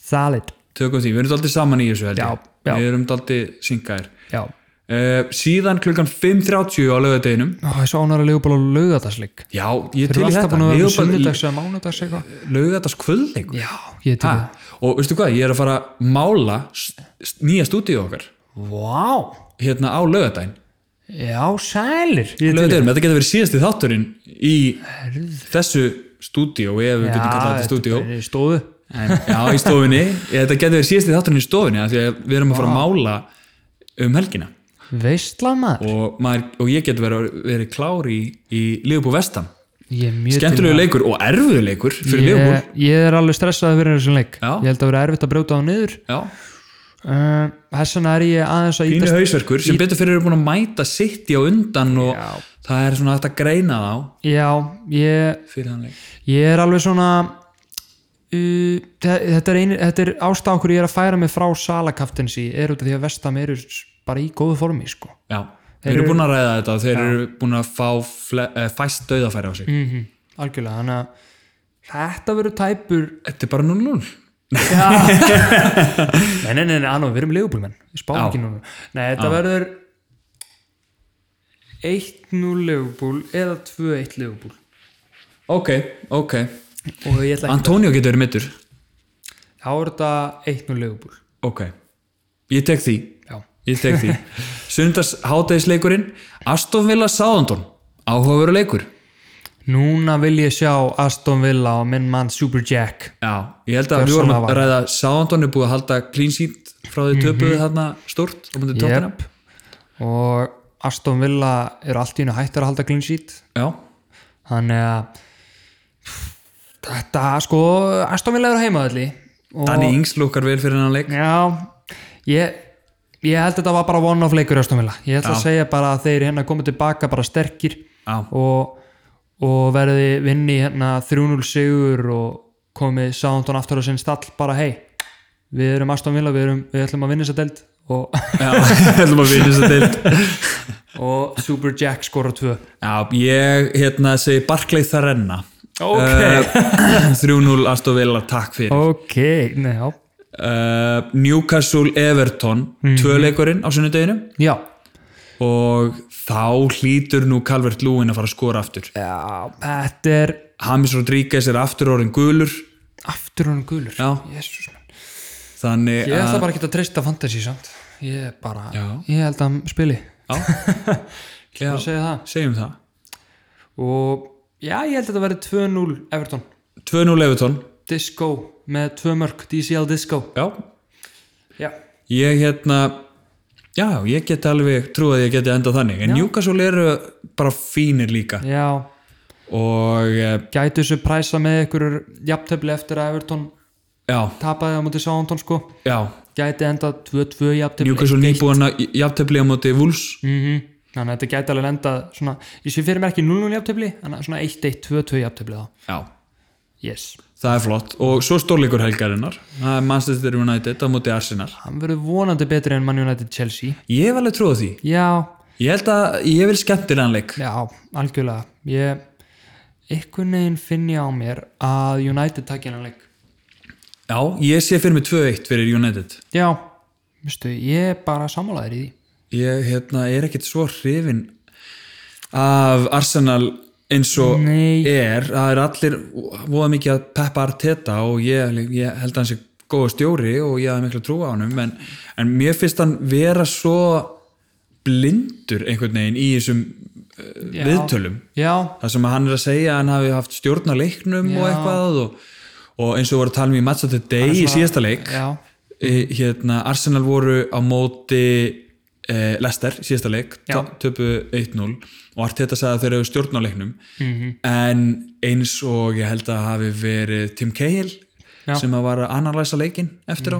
S2: Thalit,
S1: tökum því, við erum daldið saman í þessu held
S2: Já,
S1: ég
S2: já.
S1: Við erum daldið syngaðir
S2: já,
S1: uh, síðan klukkan 5.30 á laugardeginum
S2: Ó, ég svo ánæra leifubál á laugardagsleik
S1: já, ég
S2: Þeir
S1: til
S2: eru
S1: í
S2: alltaf
S1: þetta
S2: búin að vera með sunnudags eða mánudags eitthvað
S1: laugardagskvöldleikur
S2: Já, ég til í
S1: Ha, og veistu hvað, ég er að fara að mála s- s- nýja stúdíu okkar
S2: það Vá,
S1: hérna á laugardaginn
S2: já sælir Ég til í
S1: laugardaginn, þetta getur verið síðasti þátturinn í þessu stúdíu ef við getum kallað þetta stúdíu
S2: er í stóðu
S1: en, já, í stofinni, Ég- þetta getur verið síðasti þátturinn í stofinni af því að við erum að fara að mála um helgina
S2: Veistla maður
S1: og, maður, og ég getur verið, verið klár í, í Liverpool vestam
S2: Ég er mjög til í
S1: skemmtilegu
S2: það.
S1: leikur og erfiðu leikur fyrir Liverpool
S2: ég, ég er alveg stressað að vera í þessum leik
S1: Já.
S2: Ég held að vera erfitt að brjóta á niður
S1: já,
S2: Uh, Þess vegna er ég aðeins að
S1: pínu
S2: ýtast-
S1: hausverkur sem betur fyrir eru búin að mæta sitt á undan og
S2: Já.
S1: það er svona hægt að greina þá
S2: Já, ég,
S1: fyrir þann leik
S2: ég er alveg svona uh, þe- þetta er, einu, þetta er ástæða okkur ég er að færa mig frá salakaftins í er út af því að vestam eru s- bara í góðu formi sko.
S1: já, þeir eru búin að ræða þetta þeir eru búin að fá fle, eh, fæst döðafæri á sig
S2: mm algjörlega, þannig að þetta verður tæpur
S1: þetta er bara 0-0
S2: nei, nei, nei, nei, annað, við erum legubúlmenn við spáum
S1: Já.
S2: ekki núna nei, þetta verður 1-0 legubúl eða 2-1 legubúl
S1: ok, ok,
S2: og ég ætla ekki
S1: Antonio getur verið mittur
S2: þá er þetta 1-0 legubúl
S1: ok, ég tek því
S2: já,
S1: ég tek
S2: (laughs)
S1: því sundas hátæðisleikurinn Aston Villa Southampton áhugaveru leikur
S2: núna vil ég sjá Aston Villa og minn mann Super Jack
S1: Já, ég held að
S2: Gjörsamlega
S1: við vorum að
S2: væri.
S1: ræða Southampton er búið að halda clean sheet frá því töpuðu þarna stórt á myndi tóttina
S2: Mhm. Jep. og Aston Villa eru allt í hennu hættar að halda clean sheet
S1: Já,
S2: þannig að þetta sko Aston Villa eru heimaðalli og
S1: Danny Ings lukkar vel fyrir hennan leik
S2: já, ég, ég held að þetta var bara one of leikur Aston Villa ég ætla
S1: Já.
S2: að segja bara að þeir hérna komið tilbaka bara sterkir
S1: Já.
S2: og, og verði vinni hérna 3-0 sigur og komið Soundon aftur á sinn stall bara hei, við erum Aston Villa við, erum, við ætlum að vinna þessa deild og,
S1: Já, (laughs) heldum að vinna þess að deild
S2: og Super Jack skora tvö
S1: Já, ég hérna segi Barclay þar enna
S2: Ok.
S1: (clears throat) 3-0 Aston Villa, takk fyrir
S2: ok, neða
S1: uh, Newcastle Everton
S2: Mhm.
S1: tvöleikurinn á sunnudeginu
S2: já,
S1: og þá hlýtur nú Calvert Lúin að fara að skora aftur
S2: já, þetta er
S1: Hamis Rodríguez er aftur orðin gulur
S2: aftur hann gulur
S1: Já.
S2: Jesus, minn.
S1: þannig
S2: ég ætla
S1: að
S2: bara ekki að treysta fantasy samt ég er bara,
S1: Já.
S2: ég held að hann spili
S1: Já,
S2: Já. að segja það
S1: segjum það
S2: og já, ég held að þetta verði 2-0 Everton,
S1: 2-0 Everton
S2: Disco með tvö mörg, DCL Disco
S1: Já,
S2: já,
S1: ég hérna já, ég get alveg trú að ég geti endað þannig en Newcastle eru bara fínir líka
S2: já
S1: og eh,
S2: gætu þessu præsa með ykkur jafntefli eftir að Everton
S1: já,
S2: tapaði á móti Sándon sko
S1: já
S2: gæti enda 2-2 jafntefli
S1: Newcastle nýbúin að jafntefli á móti Wolves
S2: -hmm. þannig að þetta gæti alveg lenda svona, ég sé fyrir mér ekki 0-0 jafntefli þannig að svona 1-1-2-2 jafntefli þá
S1: já,
S2: yes.
S1: það er flott og svo stórleikur helgarinnar það er Manchester United á móti Arsenal
S2: hann verður vonandi betri en Man United Chelsea
S1: ég hef alveg trú að því
S2: já,
S1: ég held að ég vil skemmtilegan leik
S2: já, algjörlega ég, einhvern veginn finn ég á mér að United takk hennan leik
S1: já, ég sé fyrir mig 2-1 fyrir United
S2: já, veistu, ég er bara sammálaður í því
S1: ég hérna, er ekkit svo hrifin af Arsenal eins og
S2: Nei.
S1: er það er allir voða mikið að peppa Arteta og ég, ég held að hann sé góða stjóri og ég hafði miklu trú á honum en, en mér finnst hann vera svo blindur einhvern veginn í þessum uh,
S2: Já.
S1: viðtölum
S2: já,
S1: það sem að hann er að segja að hann hafi haft stjórn á leiknum og
S2: Já.
S1: eitthvað og, og eins og voru að tala um í Match of the Day í síðasta leik
S2: já,
S1: e, hérna, Arsenal voru á móti e, Lester, síðasta leik
S2: Já.
S1: töpu 1-0 og Arteta sagði að þeir eru stjórn á leiknum
S2: Mhm.
S1: en eins og ég held að hafi verið Tim Cahill
S2: Já. Mhm.
S1: sem að var að analysa leikin eftir á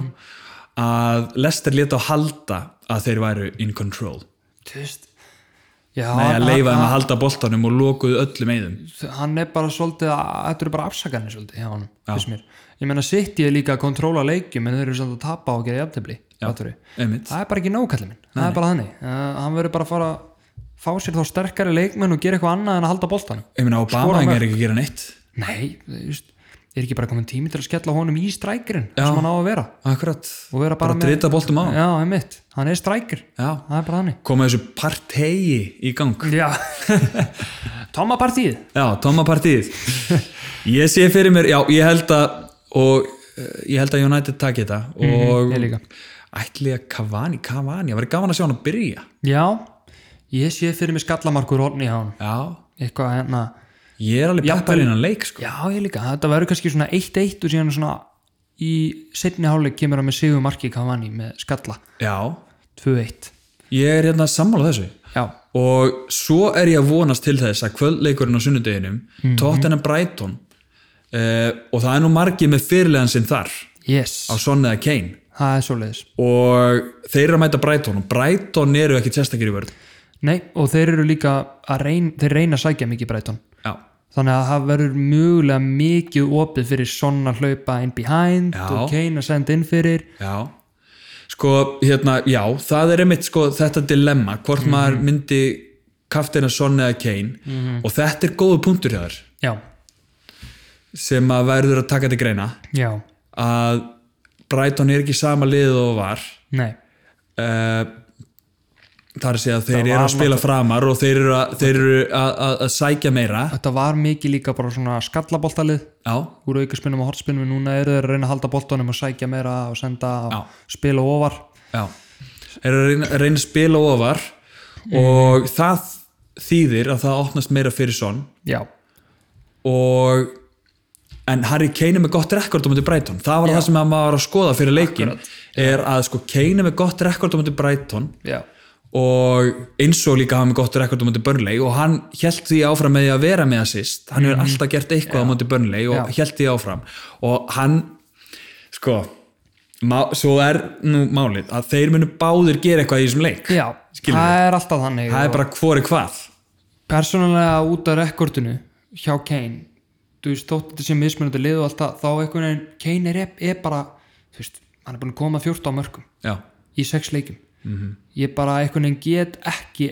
S1: að Lester leta á halda að þeir væru in control
S2: þú veist já,
S1: Nei, að
S2: hann-
S1: leifa þeim að halda boltanum og lokuðu öllum eyðum
S2: hann er bara svolítið að- þetta eru bara afsakanir svolítið hjá hann finnst mér ég meina sitt ég líka að kontróla leikjum en þeir eru svolítið að tapa og gera jafntefli Áttu við.
S1: einmitt.
S2: það er bara ekki nákallið minn það er bara þannig uh, hann verður bara að fara að fá sér þá sterkari leikmenn og gera eitthvað annað en að halda boltanum
S1: ég meina Obama
S2: Skora mörk.
S1: er ekki að gera neitt
S2: nei, þú veist, er ekki bara komin tími til að skella honum í strækirinn sem hann á að vera
S1: akkurat
S2: og vera bara,
S1: bara drita boltum á
S2: já, einmitt, hann er strækir
S1: Já.
S2: það er bara þannig
S1: koma þessu partegi í
S2: (laughs)
S1: gang
S2: já, Tomma partíð
S1: já, tómapartíð ég sé fyrir mér, já, ég held að og eh, ég held að United taki þetta og
S2: Mhm, ég líka.
S1: ætli að Cavani, Cavani, það væri gaman að sjá hann að byrja
S2: já, ég sé fyrir mig skallamarkur orðni á hann
S1: já,
S2: eitthvað hérna,
S1: ég er alveg peppar innan leik sko.
S2: já, ég líka þetta verður kannski svona 1-1 og síðan svona í setni hálfleik kemur hann með Sigur Marki Cavani með skalla
S1: já,
S2: 2-1
S1: ég er hérna sammála þessu
S2: já,
S1: og svo er ég að vonast til þess að kvöldleikurinn á sunnudeginum
S2: Mhm.
S1: Tottenham Brighton uh, og það er nú margið með fyrirlegan sinn þar á
S2: yes,
S1: Son eða Kane
S2: það er svoleiðis
S1: og þeir eru að mæta Brighton og Brighton eru ekkit sérstakir í vörð
S2: Nei, og þeir eru líka að reyn, þeir reyna að sækja mikið breytun
S1: já,
S2: þannig að það verður mjögulega mikið opið fyrir svona hlaupa in behind
S1: Já.
S2: og Kane að senda inn fyrir
S1: já sko, hérna, já, það er einmitt sko, þetta dilemma, hvort maður myndi kaftina Son eða Kane og þetta er góðu punktur hjá þér
S2: Já,
S1: sem að verður að taka til greina
S2: já,
S1: að Brighton er ekki sama liðið og var
S2: nei
S1: uh, þar sé að þeir eru að spila framar og þeir eru að, þeir eru að, að, að sækja meira
S2: Þetta var mikið líka bara svona skallaboltalið
S1: já,
S2: úr aukaspinnum og hortspinnum en núna eru þeir að reyna að halda boltanum og sækja meira og senda og
S1: Já.
S2: spila ofar
S1: já þeir eru að reyna, að reyna að spila ofar og það þýðir að það opnast meira fyrir son
S2: Já,
S1: og en Harry Kane er með gott rekord á mútið Brighton það var það sem að maður var að skoða fyrir leikin er að sko Kane er með gott rekord á mútið Brighton
S2: já,
S1: og eins og líka hafa með gott rekord á móti Burnley og hann held því áfram með því að vera með assist hann
S2: Mhm.
S1: hefur alltaf gert eitthvað á móti Burnley og held því áfram og hann sko, má, svo er nú málið að þeir munu báðir gera eitthvað í þessum leik
S2: já
S1: Skilur
S2: það er alltaf þannig
S1: það er bara hvori hvað
S2: persónulega út af rekordinu hjá Kane þú veist, þótt þetta sé mismunandi lið og allt það þá einhvern veginn, Kane er, er bara þú veist, hann er búin að koma 14 mörgum
S1: já,
S2: í sex leikum
S1: Mhm.
S2: ég bara einhvern veginn get ekki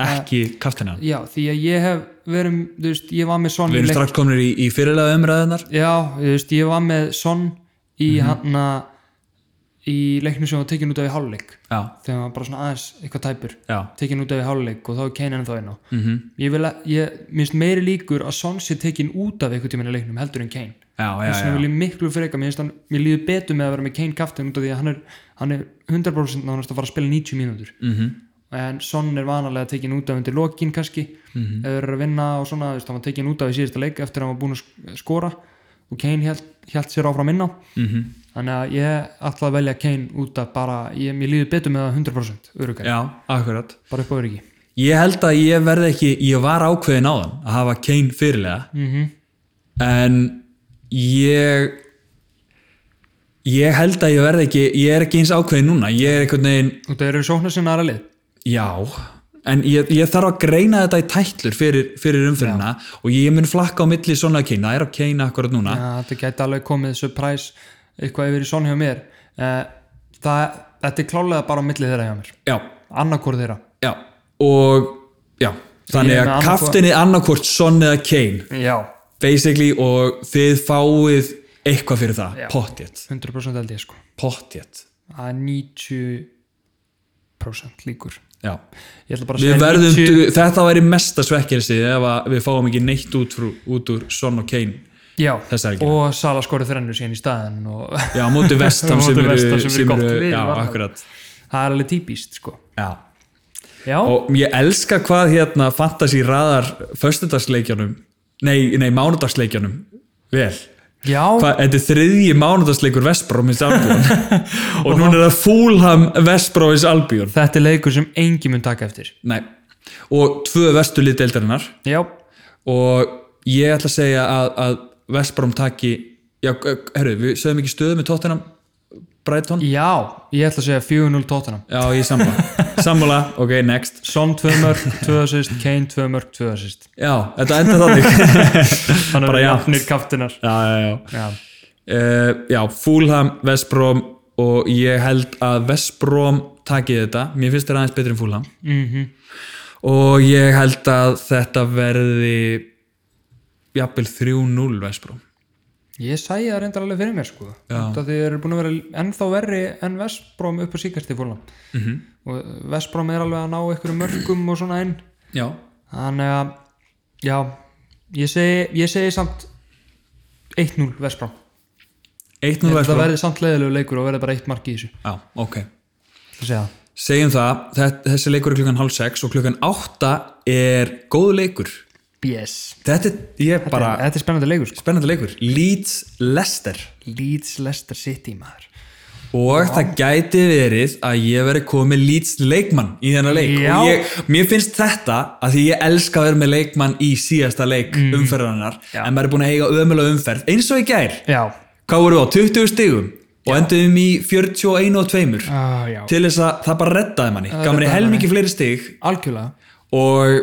S1: ekki kaftina
S2: já, því að ég hef verið þú veist, ég var með Son
S1: við
S2: í
S1: erum
S2: leik
S1: strax komin í, í fyrirlega umræðunar
S2: já, þú veist, ég var með Son í mm í leiknum sem var tekin út af í hálfleik
S1: já,
S2: þegar hann var bara svona aðeins eitthvað tæpur
S1: já,
S2: tekin út af í hálfleik og þá er Kane ennþá inn á mm -hmm. ég vil að, ég minnst meiri líkur að Son sé tekin út af eitthvað tíma í leiknum heldur en Kane
S1: já, já,
S2: þess vegna
S1: já.
S2: vil ég miklu freka, mér, finnst hann, mér líður betur með að vera með Kane kaftin út af því að hann er, hann er 100% nánast að fara að spila 90 mínútur
S1: Mhm.
S2: -hmm. en Son er vanalega tekin út af undir lokin kannski, mm
S1: Mhm.
S2: -hmm. eða er að vinna og svona, þú veist, hann var tekin út af í síðasta leik eftir að hann var búin að sk- skora og Kane held, held sér áfram inn á mm
S1: Mhm.
S2: -hmm. þannig að ég ætla að velja Kane út af bara, ég, mér líður betur með að 100% örugari,
S1: já, akkurat
S2: bara upp á örugi
S1: Ég held að ég verði ekki, ég var ákveðin á þann að hafa Kane fyrirlega
S2: Mhm.
S1: -hmm. en ég ég held að ég verði ekki ég er ekki eins ákveðin núna, ég er einhvern veginn
S2: og það eru sóknar sinna aðra lið
S1: já, en ég, ég þarf að greina þetta í tætlur fyrir, fyrir umfyrirna og ég mun flakka á milli svona Kane, það er á Kane akkurat núna
S2: Já, Eh, þetta gæti alveg komið surprise eitthvað yfir í svona hjá mér Eh, það, þetta er klálega bara á milli þeirra hjá mér,
S1: já,
S2: annarkor þeirra
S1: já, og já, þannig
S2: Ég
S1: að
S2: er með annað-
S1: kaftinni annarkvort Son eða Kane,
S2: Já,
S1: basically og þið fáið eitthvað fyrir það,
S2: Já.
S1: pottjett
S2: 100% held ég sko
S1: pottjett
S2: það er 90% líkur
S1: Já.
S2: Ég ætla bara að
S1: Við
S2: segja
S1: verðum,
S2: 90
S1: þetta væri mesta svekkjelsi ef að við fáum ekki neitt út, frú, út úr Son og Kane
S2: Já,
S1: þessa helgi.
S2: og Sala skorið þrennu síðan í staðin og
S1: Já, á móti vestam
S2: Á móti
S1: sem eru,
S2: Vestham sem eru
S1: sem
S2: gott
S1: eru
S2: lið,
S1: já,
S2: varnarlega.
S1: akkurat.
S2: (laughs) það er alveg típist sko
S1: Já.
S2: Já,
S1: Og ég elska hvað hérna fantasy raðar föstudagsleikjanum, nei, nei, mánudagsleikjanum, vel.
S2: já,
S1: Hvað, þetta er þriðji mánudagsleikur Vestbrómins
S2: (laughs)
S1: Albjón og núna er það Fúlham Vestbrómins Albjón.
S2: þetta er leikur sem engi mun taka eftir
S1: Nei, og tvö vestu liðdeildarinnar.
S2: Já,
S1: og ég ætla að segja að, að Vestbrom taki já, eh, herru, við sögum ekki stöðu með Tottenham Brighton?
S2: já, ég ætla að segja 4-0 tóttanam
S1: Já, ég (laughs) sammála sammála, ok, next
S2: Son 2 mörg, 2 assist, Kane 2 mörg, 2 assist
S1: já, þetta enda þannig
S2: Þannig að
S1: Bara
S2: við
S1: jafnt.
S2: jafnir kaftinar
S1: (laughs) já, já, já,
S2: Já,
S1: uh, já Fulham, Vestbrom og ég held að Vestbrom taki þetta, mér finnst þetta aðeins betri en Fulham -hmm. og ég held að þetta verði jafnvel 3-0 Vestbrom
S2: Ég sæði það reyndar alveg fyrir mér sko Það þið eru búin að vera ennþá verri en Vestbróm upp á síkast í fólan mm -hmm. og Vestbróm er alveg að ná einhverjum mörgum og svona inn
S1: Já,
S2: Þannig að já, ég segi, ég segi samt 1-0 Vestbróm
S1: 1-0
S2: Það
S1: Vestbrom
S2: verði samt leiðilegu leikur og verði bara eitt mark í þessu
S1: Já, ok
S2: Það segja það
S1: Segjum það, þetta, þessi leikur er klukkan halv sex og klukkan átta er góð leikur.
S2: BS
S1: Þetta er, ég er bara,
S2: Bara, Þetta er spennandi leikur sko
S1: spennandi leikur. Leeds Leicester
S2: Leeds Leicester City maður
S1: og það gæti verið að ég veri komið Leeds leikmann í þennan leik
S2: Já.
S1: og ég, mér finnst þetta að því ég elska að vera með leikmann í síðasta leik mm. umferðarinnar
S2: Já.
S1: en maður er búin að eiga ömulega umferð eins og í gær.
S2: Já,
S1: Hvað voru á 20 stigum og enduðum í 41 og 2
S2: ah, já.
S1: til þess að það bara reddaði manni.
S2: Það
S1: Gamri
S2: reddaði
S1: helmingi fleiri stig
S2: algjörlega
S1: og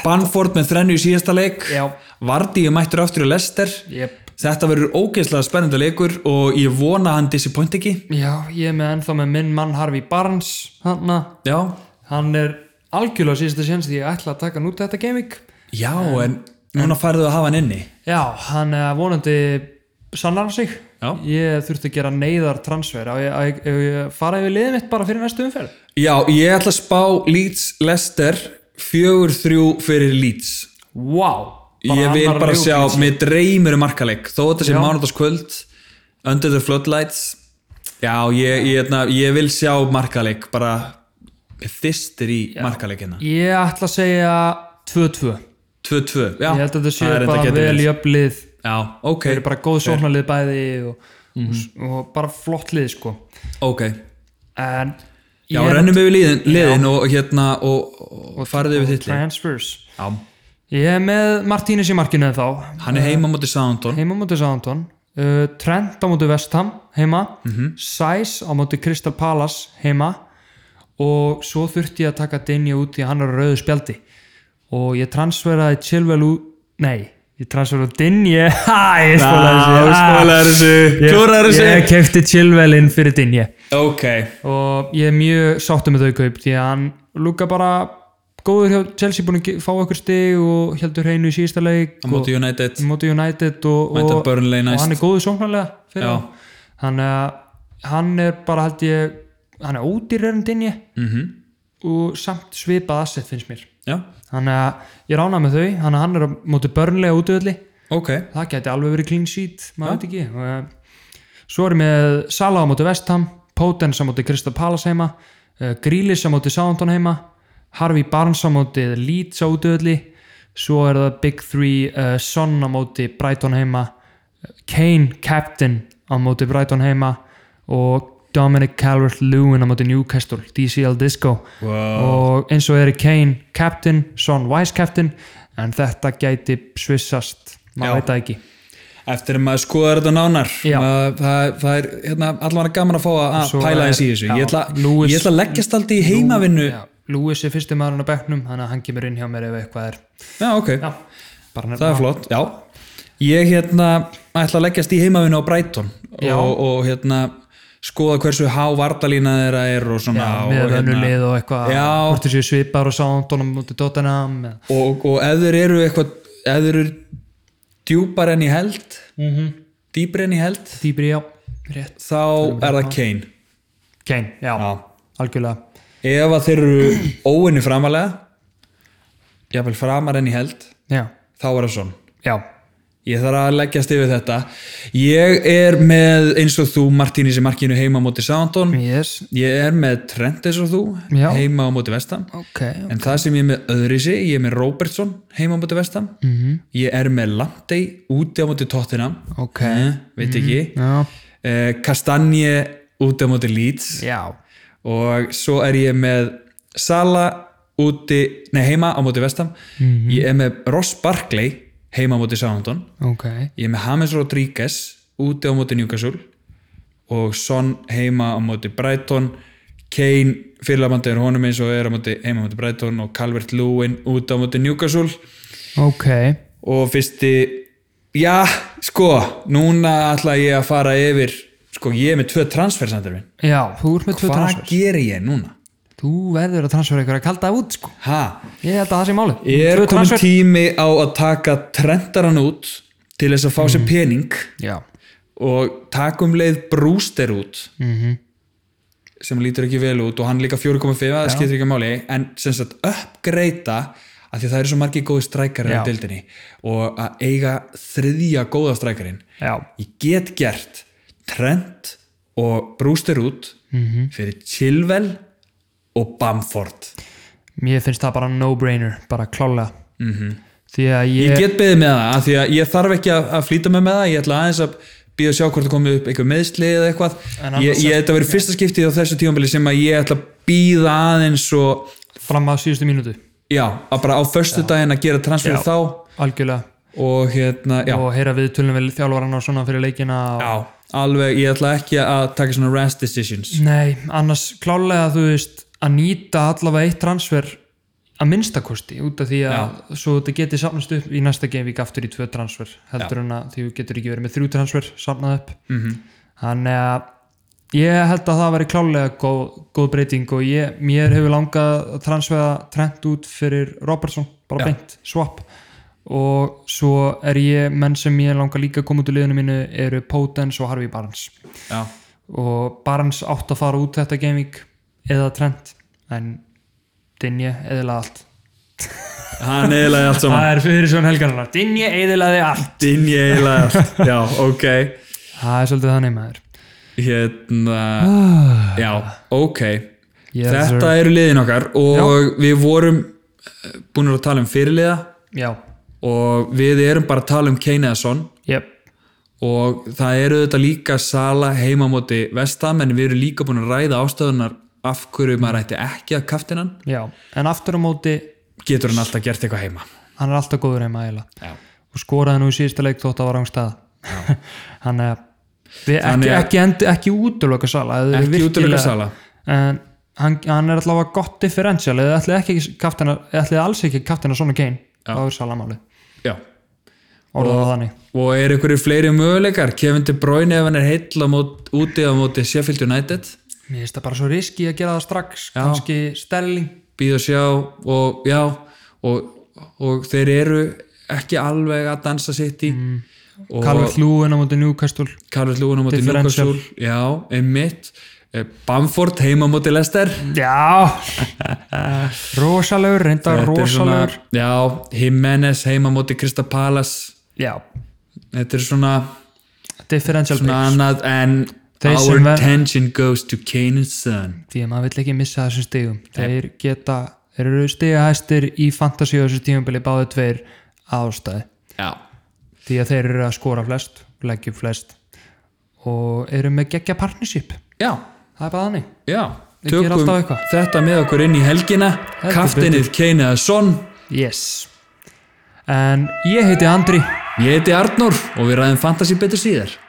S1: Banford með þrennu í síðasta leik
S2: Já.
S1: Vardí er mættur aftur í Lester
S2: Jep.
S1: þetta verður ógeðslega spennandi leikur og ég vona að hann disappoint ekki
S2: Já, ég er með ennþá með minn mann Harvey Barnes hana.
S1: já,
S2: hann er algjörlega síðasta séns því ég ætla að taka hann út þetta gaming
S1: já en núna færðu að hafa hann inni
S2: Já, hann er vonandi sannar hann sig
S1: Já.
S2: Ég þurfti að gera neyðar transfer á ég, á ég, á ég fara yfir liðið mitt bara fyrir næstu umferð
S1: já, ég ætla að spá Leeds Lester 4-3 fyrir Leeds
S2: Vá
S1: ég vil
S2: annar
S1: bara
S2: leik-
S1: sjá, mér dreymir um markaleik þó þetta sé
S2: Já.
S1: mánudagskvöld Under the Floodlights já, ég, ég, ég, ég vil sjá markaleik bara mér þystir í hérna. markaleikina
S2: Ég ætla að segja 2-2
S1: 2-2, já
S2: Ég held að þetta sé
S1: er
S2: bara
S1: gæti
S2: vel
S1: verið.
S2: í öflið
S1: já, ok,
S2: Þeir Mhm. eru bara góð sóknarlið bæði og, og, og bara flott lið sko
S1: ok
S2: En
S1: já,
S2: ég er-
S1: rennum yfir liðin, liðin og hérna og, og farðu yfir þitt lið
S2: Transfers
S1: já,
S2: Ég er með Martínez í markinu en þá
S1: hann er heima mútið Soundon
S2: heima á móti Southampton uh, Trent á móti Vestham heima mm
S1: Mhm.
S2: á móti Crystal Palace heima og svo þurfti ég að taka Dinja út því að hann er á rauðu spjaldi og ég transferaði Chilwell út nei, ég transferaði Dinja (laughs) ha, ég spólaði þessu
S1: spólar þessu, klúrar
S2: Ég, ég
S1: þessu
S2: kefti Chilwell inn fyrir Dinja
S1: ok,
S2: og ég er mjög sáttu með þau kaup því að hann lúka bara góður hjá Chelsea búin að ge- fá okkur stig og heldur hreinu í síðasta leik
S1: á mótið United
S2: á móti United og,
S1: Mæta
S2: og,
S1: Burnley
S2: og
S1: næst.
S2: hann er góður sóknarlega fyrir
S1: Já.
S2: hann. þannig að hann er bara held ég hann er ódýrrend inn ég mm
S1: Mhm.
S2: -hmm. og samt svipað asset finnst mér
S1: já,
S2: þannig að ég rána með þau þannig að hann er á móti Burnley á útvöldi
S1: ok
S2: það geti alveg verið clean sheet maður veit ekki Og, eh, svo er ég með Salah á móti Vestham Potens á móti Crystal Palace heima Grílis á móti Southampton heima Harvey Barnes á móti Leeds á útöðli svo er það Big Three uh, Son á móti Brighton heima eh, Kane Captain á móti Brighton heima og Dominic Calvert-Lewin á móti Newcastle DCL Disco og eins og eru Kane Captain, Son Vice Captain en þetta gæti svissast
S1: Já.
S2: maður veit það ekki
S1: Eftir að maður skoðar þetta nánar
S2: Já.
S1: maður, það, það er hérna, allavega gaman að fá að
S2: svo
S1: pæla
S2: er-
S1: eins í þessu
S2: já,
S1: ég ætla,
S2: Lewis-
S1: ég ætla að leggjast aldrei í heimavinnu Já,
S2: Já, Lewis er fyrsti maðurinn á bekknum þannig að hann kemur inn hjá mér ef eitthvað er
S1: ok,
S2: bara nefna
S1: það er flott Já, ég hérna ætla að leggjast í heimavinnu á Brighton
S2: Já.
S1: og, og hérna skoða hversu há vartalína þeirra er og svona
S2: Já,
S1: og,
S2: með
S1: hérna,
S2: önnulið og eitthvað
S1: Já.
S2: hvort þessu svipar og sándunum mútið Tottenham eða-
S1: og, og ef þeir eru eitthvað ef þeir eru djúpar enn í held mm -hmm. dýpar enn í held
S2: Dýbri, já, rétt
S1: þá er það Kane
S2: Kane, já,
S1: Já.
S2: algjörlega
S1: ef að þeir eru (clears throat) óinni framalega jafnvel framar enn í held
S2: já,
S1: þá er það svona
S2: já,
S1: ég þarf að leggjast yfir þetta ég er með eins og þú Martínis í markinu heima á móti Sándón
S2: yes
S1: ég er með Trent eins og þú
S2: Já.
S1: heima á móti Vestam
S2: ok,
S1: en það sem ég er með öðri sig ég er með Robertson heima á móti Vestam
S2: Mhm.
S1: -hmm. ég er með Lamptey úti á móti Tottenham
S2: ok Mhm.
S1: eh, veit ekki mm.
S2: já,
S1: Kastanje úti á móti Leeds
S2: já,
S1: og svo er ég með Sala úti nei heima á móti Vestam ég er með Ross Barkley heima á móti Southampton
S2: ok
S1: ég er með James Rodríguez úti á móti Newcastle og Son heima á móti Brighton Kane fyrirlamandi er honum eins og er á móti, heima á móti Brighton og Calvert Lewin úti á móti Newcastle
S2: ok,
S1: og fyrsti já sko núna ætla ég að fara yfir sko ég er með tvö transfersandir minn
S2: já, þú ert með tvö
S1: hvað
S2: transfer
S1: ger ég núna?
S2: þú verður að transfera ykkur að kalda það út sko.
S1: Ha?
S2: ég held að það sé málið
S1: Er
S2: Tvö
S1: komin tími á að taka trendaran út til þess að fá
S2: Mhm.
S1: sér pening
S2: já,
S1: og taka um leið brúster út
S2: Mhm.
S1: sem lítur ekki vel út og hann líka 4,5 það skiptir ekki máli en sem sagt uppgreita af því að það eru svo margir góði strækari
S2: Já.
S1: á deildinni og að eiga þriðja góða strækarin
S2: já,
S1: ég get gert Trent og brúster út
S2: Mhm.
S1: fyrir Chilwell og Bamford
S2: mér finnst það bara no-brainer bara klálega því að ég,
S1: Mhm. ég get beðið með það af því að ég þarf ekki að, að flýta mig með það ég ætla aðeins að býða að sjá hvort það komið upp einhver meðsli eða eitthvað
S2: En annars
S1: ég, ég,
S2: er-
S1: þetta verið fyrsta skiptið á þessu tímabili sem að ég ætla að býða aðeins og
S2: fram að síðustu mínútu
S1: já, að bara á förstu daginn að gera transfer
S2: Já.
S1: þá
S2: algjörlega
S1: og hérna, já,
S2: og heyra við tölum vel þjálfaran og svona fyrir leikina og...
S1: já alveg, ég ætla ekki að taka svona rest decisions
S2: nei, annars klálega þú veist að nýta allavega eitt transfer að minnstakosti út af því að svo þetta geti safnast upp í næsta genvík aftur í tvö transfer heldur en að því þú getur ekki verið með þrjú transfer safnað upp -hmm. þannig að ég held að það væri klálega góð, góð breyting og ég, mér hefur langað að transfera Trent út fyrir Robertson, bara beint, swap og svo er ég menn sem ég langar líka að koma út úr liðinu mínu eru Potence og Harvey Barnes
S1: já,
S2: og Barnes átt að fara út þetta gaming eða trend en Dinje eðilaði allt
S1: (laughs) hann eiginlega allt saman
S2: það er fyrir svona helgarnar Dinje eðilaði allt
S1: dinn ég eiginlega allt, já, ok
S2: það er svolítið þannig maður
S1: hérna, já, ok
S2: Ah. Yes,
S1: Þetta
S2: sir.
S1: eru liðin okkar og við vorum búin að tala um fyrirliða
S2: já,
S1: og við erum bara að tala um Kane eða Son
S2: yep.
S1: og það eru þetta líka sala heima á móti vestam en við erum líka búin að ræða ástöðunar af hverju maður ætti ekki að kaftinan
S2: já en aftur á móti
S1: getur hann alltaf gert eitthvað heima
S2: hann er alltaf góður heima eðilega
S1: Já.
S2: og skoraði nú í síðasta leik þótt að var ángstað (laughs) hann er við ekki,
S1: Þannig að-
S2: ekki, endi, ekki útlöka sala ef þið eru
S1: Ekki
S2: virkilega-
S1: útiloka Sala.
S2: en hann, hann er allavega gott differential eða ætlið ekki kaftina ætlið alls ekki kaftina svona Kane þá er sala málið
S1: Já.
S2: orðað það þannig
S1: og eru einhverju fleiri möguleikar Kevin De Bruyne ef hann er heill á mót, úti á móti Sheffield United
S2: Mér finnst það bara svo riski að gera það strax kannski stelling
S1: býð og sjá og já og, og þeir eru ekki alveg að dansa sitt í
S2: Mm.
S1: og
S2: Calvert Lúin á móti Newcastle
S1: Karl Lúin á móti
S2: Differential.
S1: Newcastle já, einmitt Eh, Bamford heima á móti Lester
S2: (laughs) Já Rósalegur, reynda
S1: Þetta er svona-
S2: rósalegur
S1: já, Jimenez heima á móti Krista Palas
S2: Já,
S1: þetta er svona,
S2: differential
S1: svona
S2: picks
S1: annað en
S2: Þeir
S1: our
S2: sem ver-
S1: attention goes to Kane and Son
S2: því að maður vill ekki missa þessum stigum þeir geta, þeir eru stigahæstir í fantasíu þessu tímabili báði tveir ástæði
S1: já,
S2: því að þeir eru að skora flest leggja upp flest og eru með geggja partnership
S1: já,
S2: það er bara þannig
S1: já
S2: Þeir gera alltaf eitthvað.
S1: þetta með okkur inn í helgina
S2: Heldur
S1: kaftinnið Kane eða Son
S2: Yes En ég heiti Andri
S1: ég heiti Arnór og við ræðum fantasy betur síðar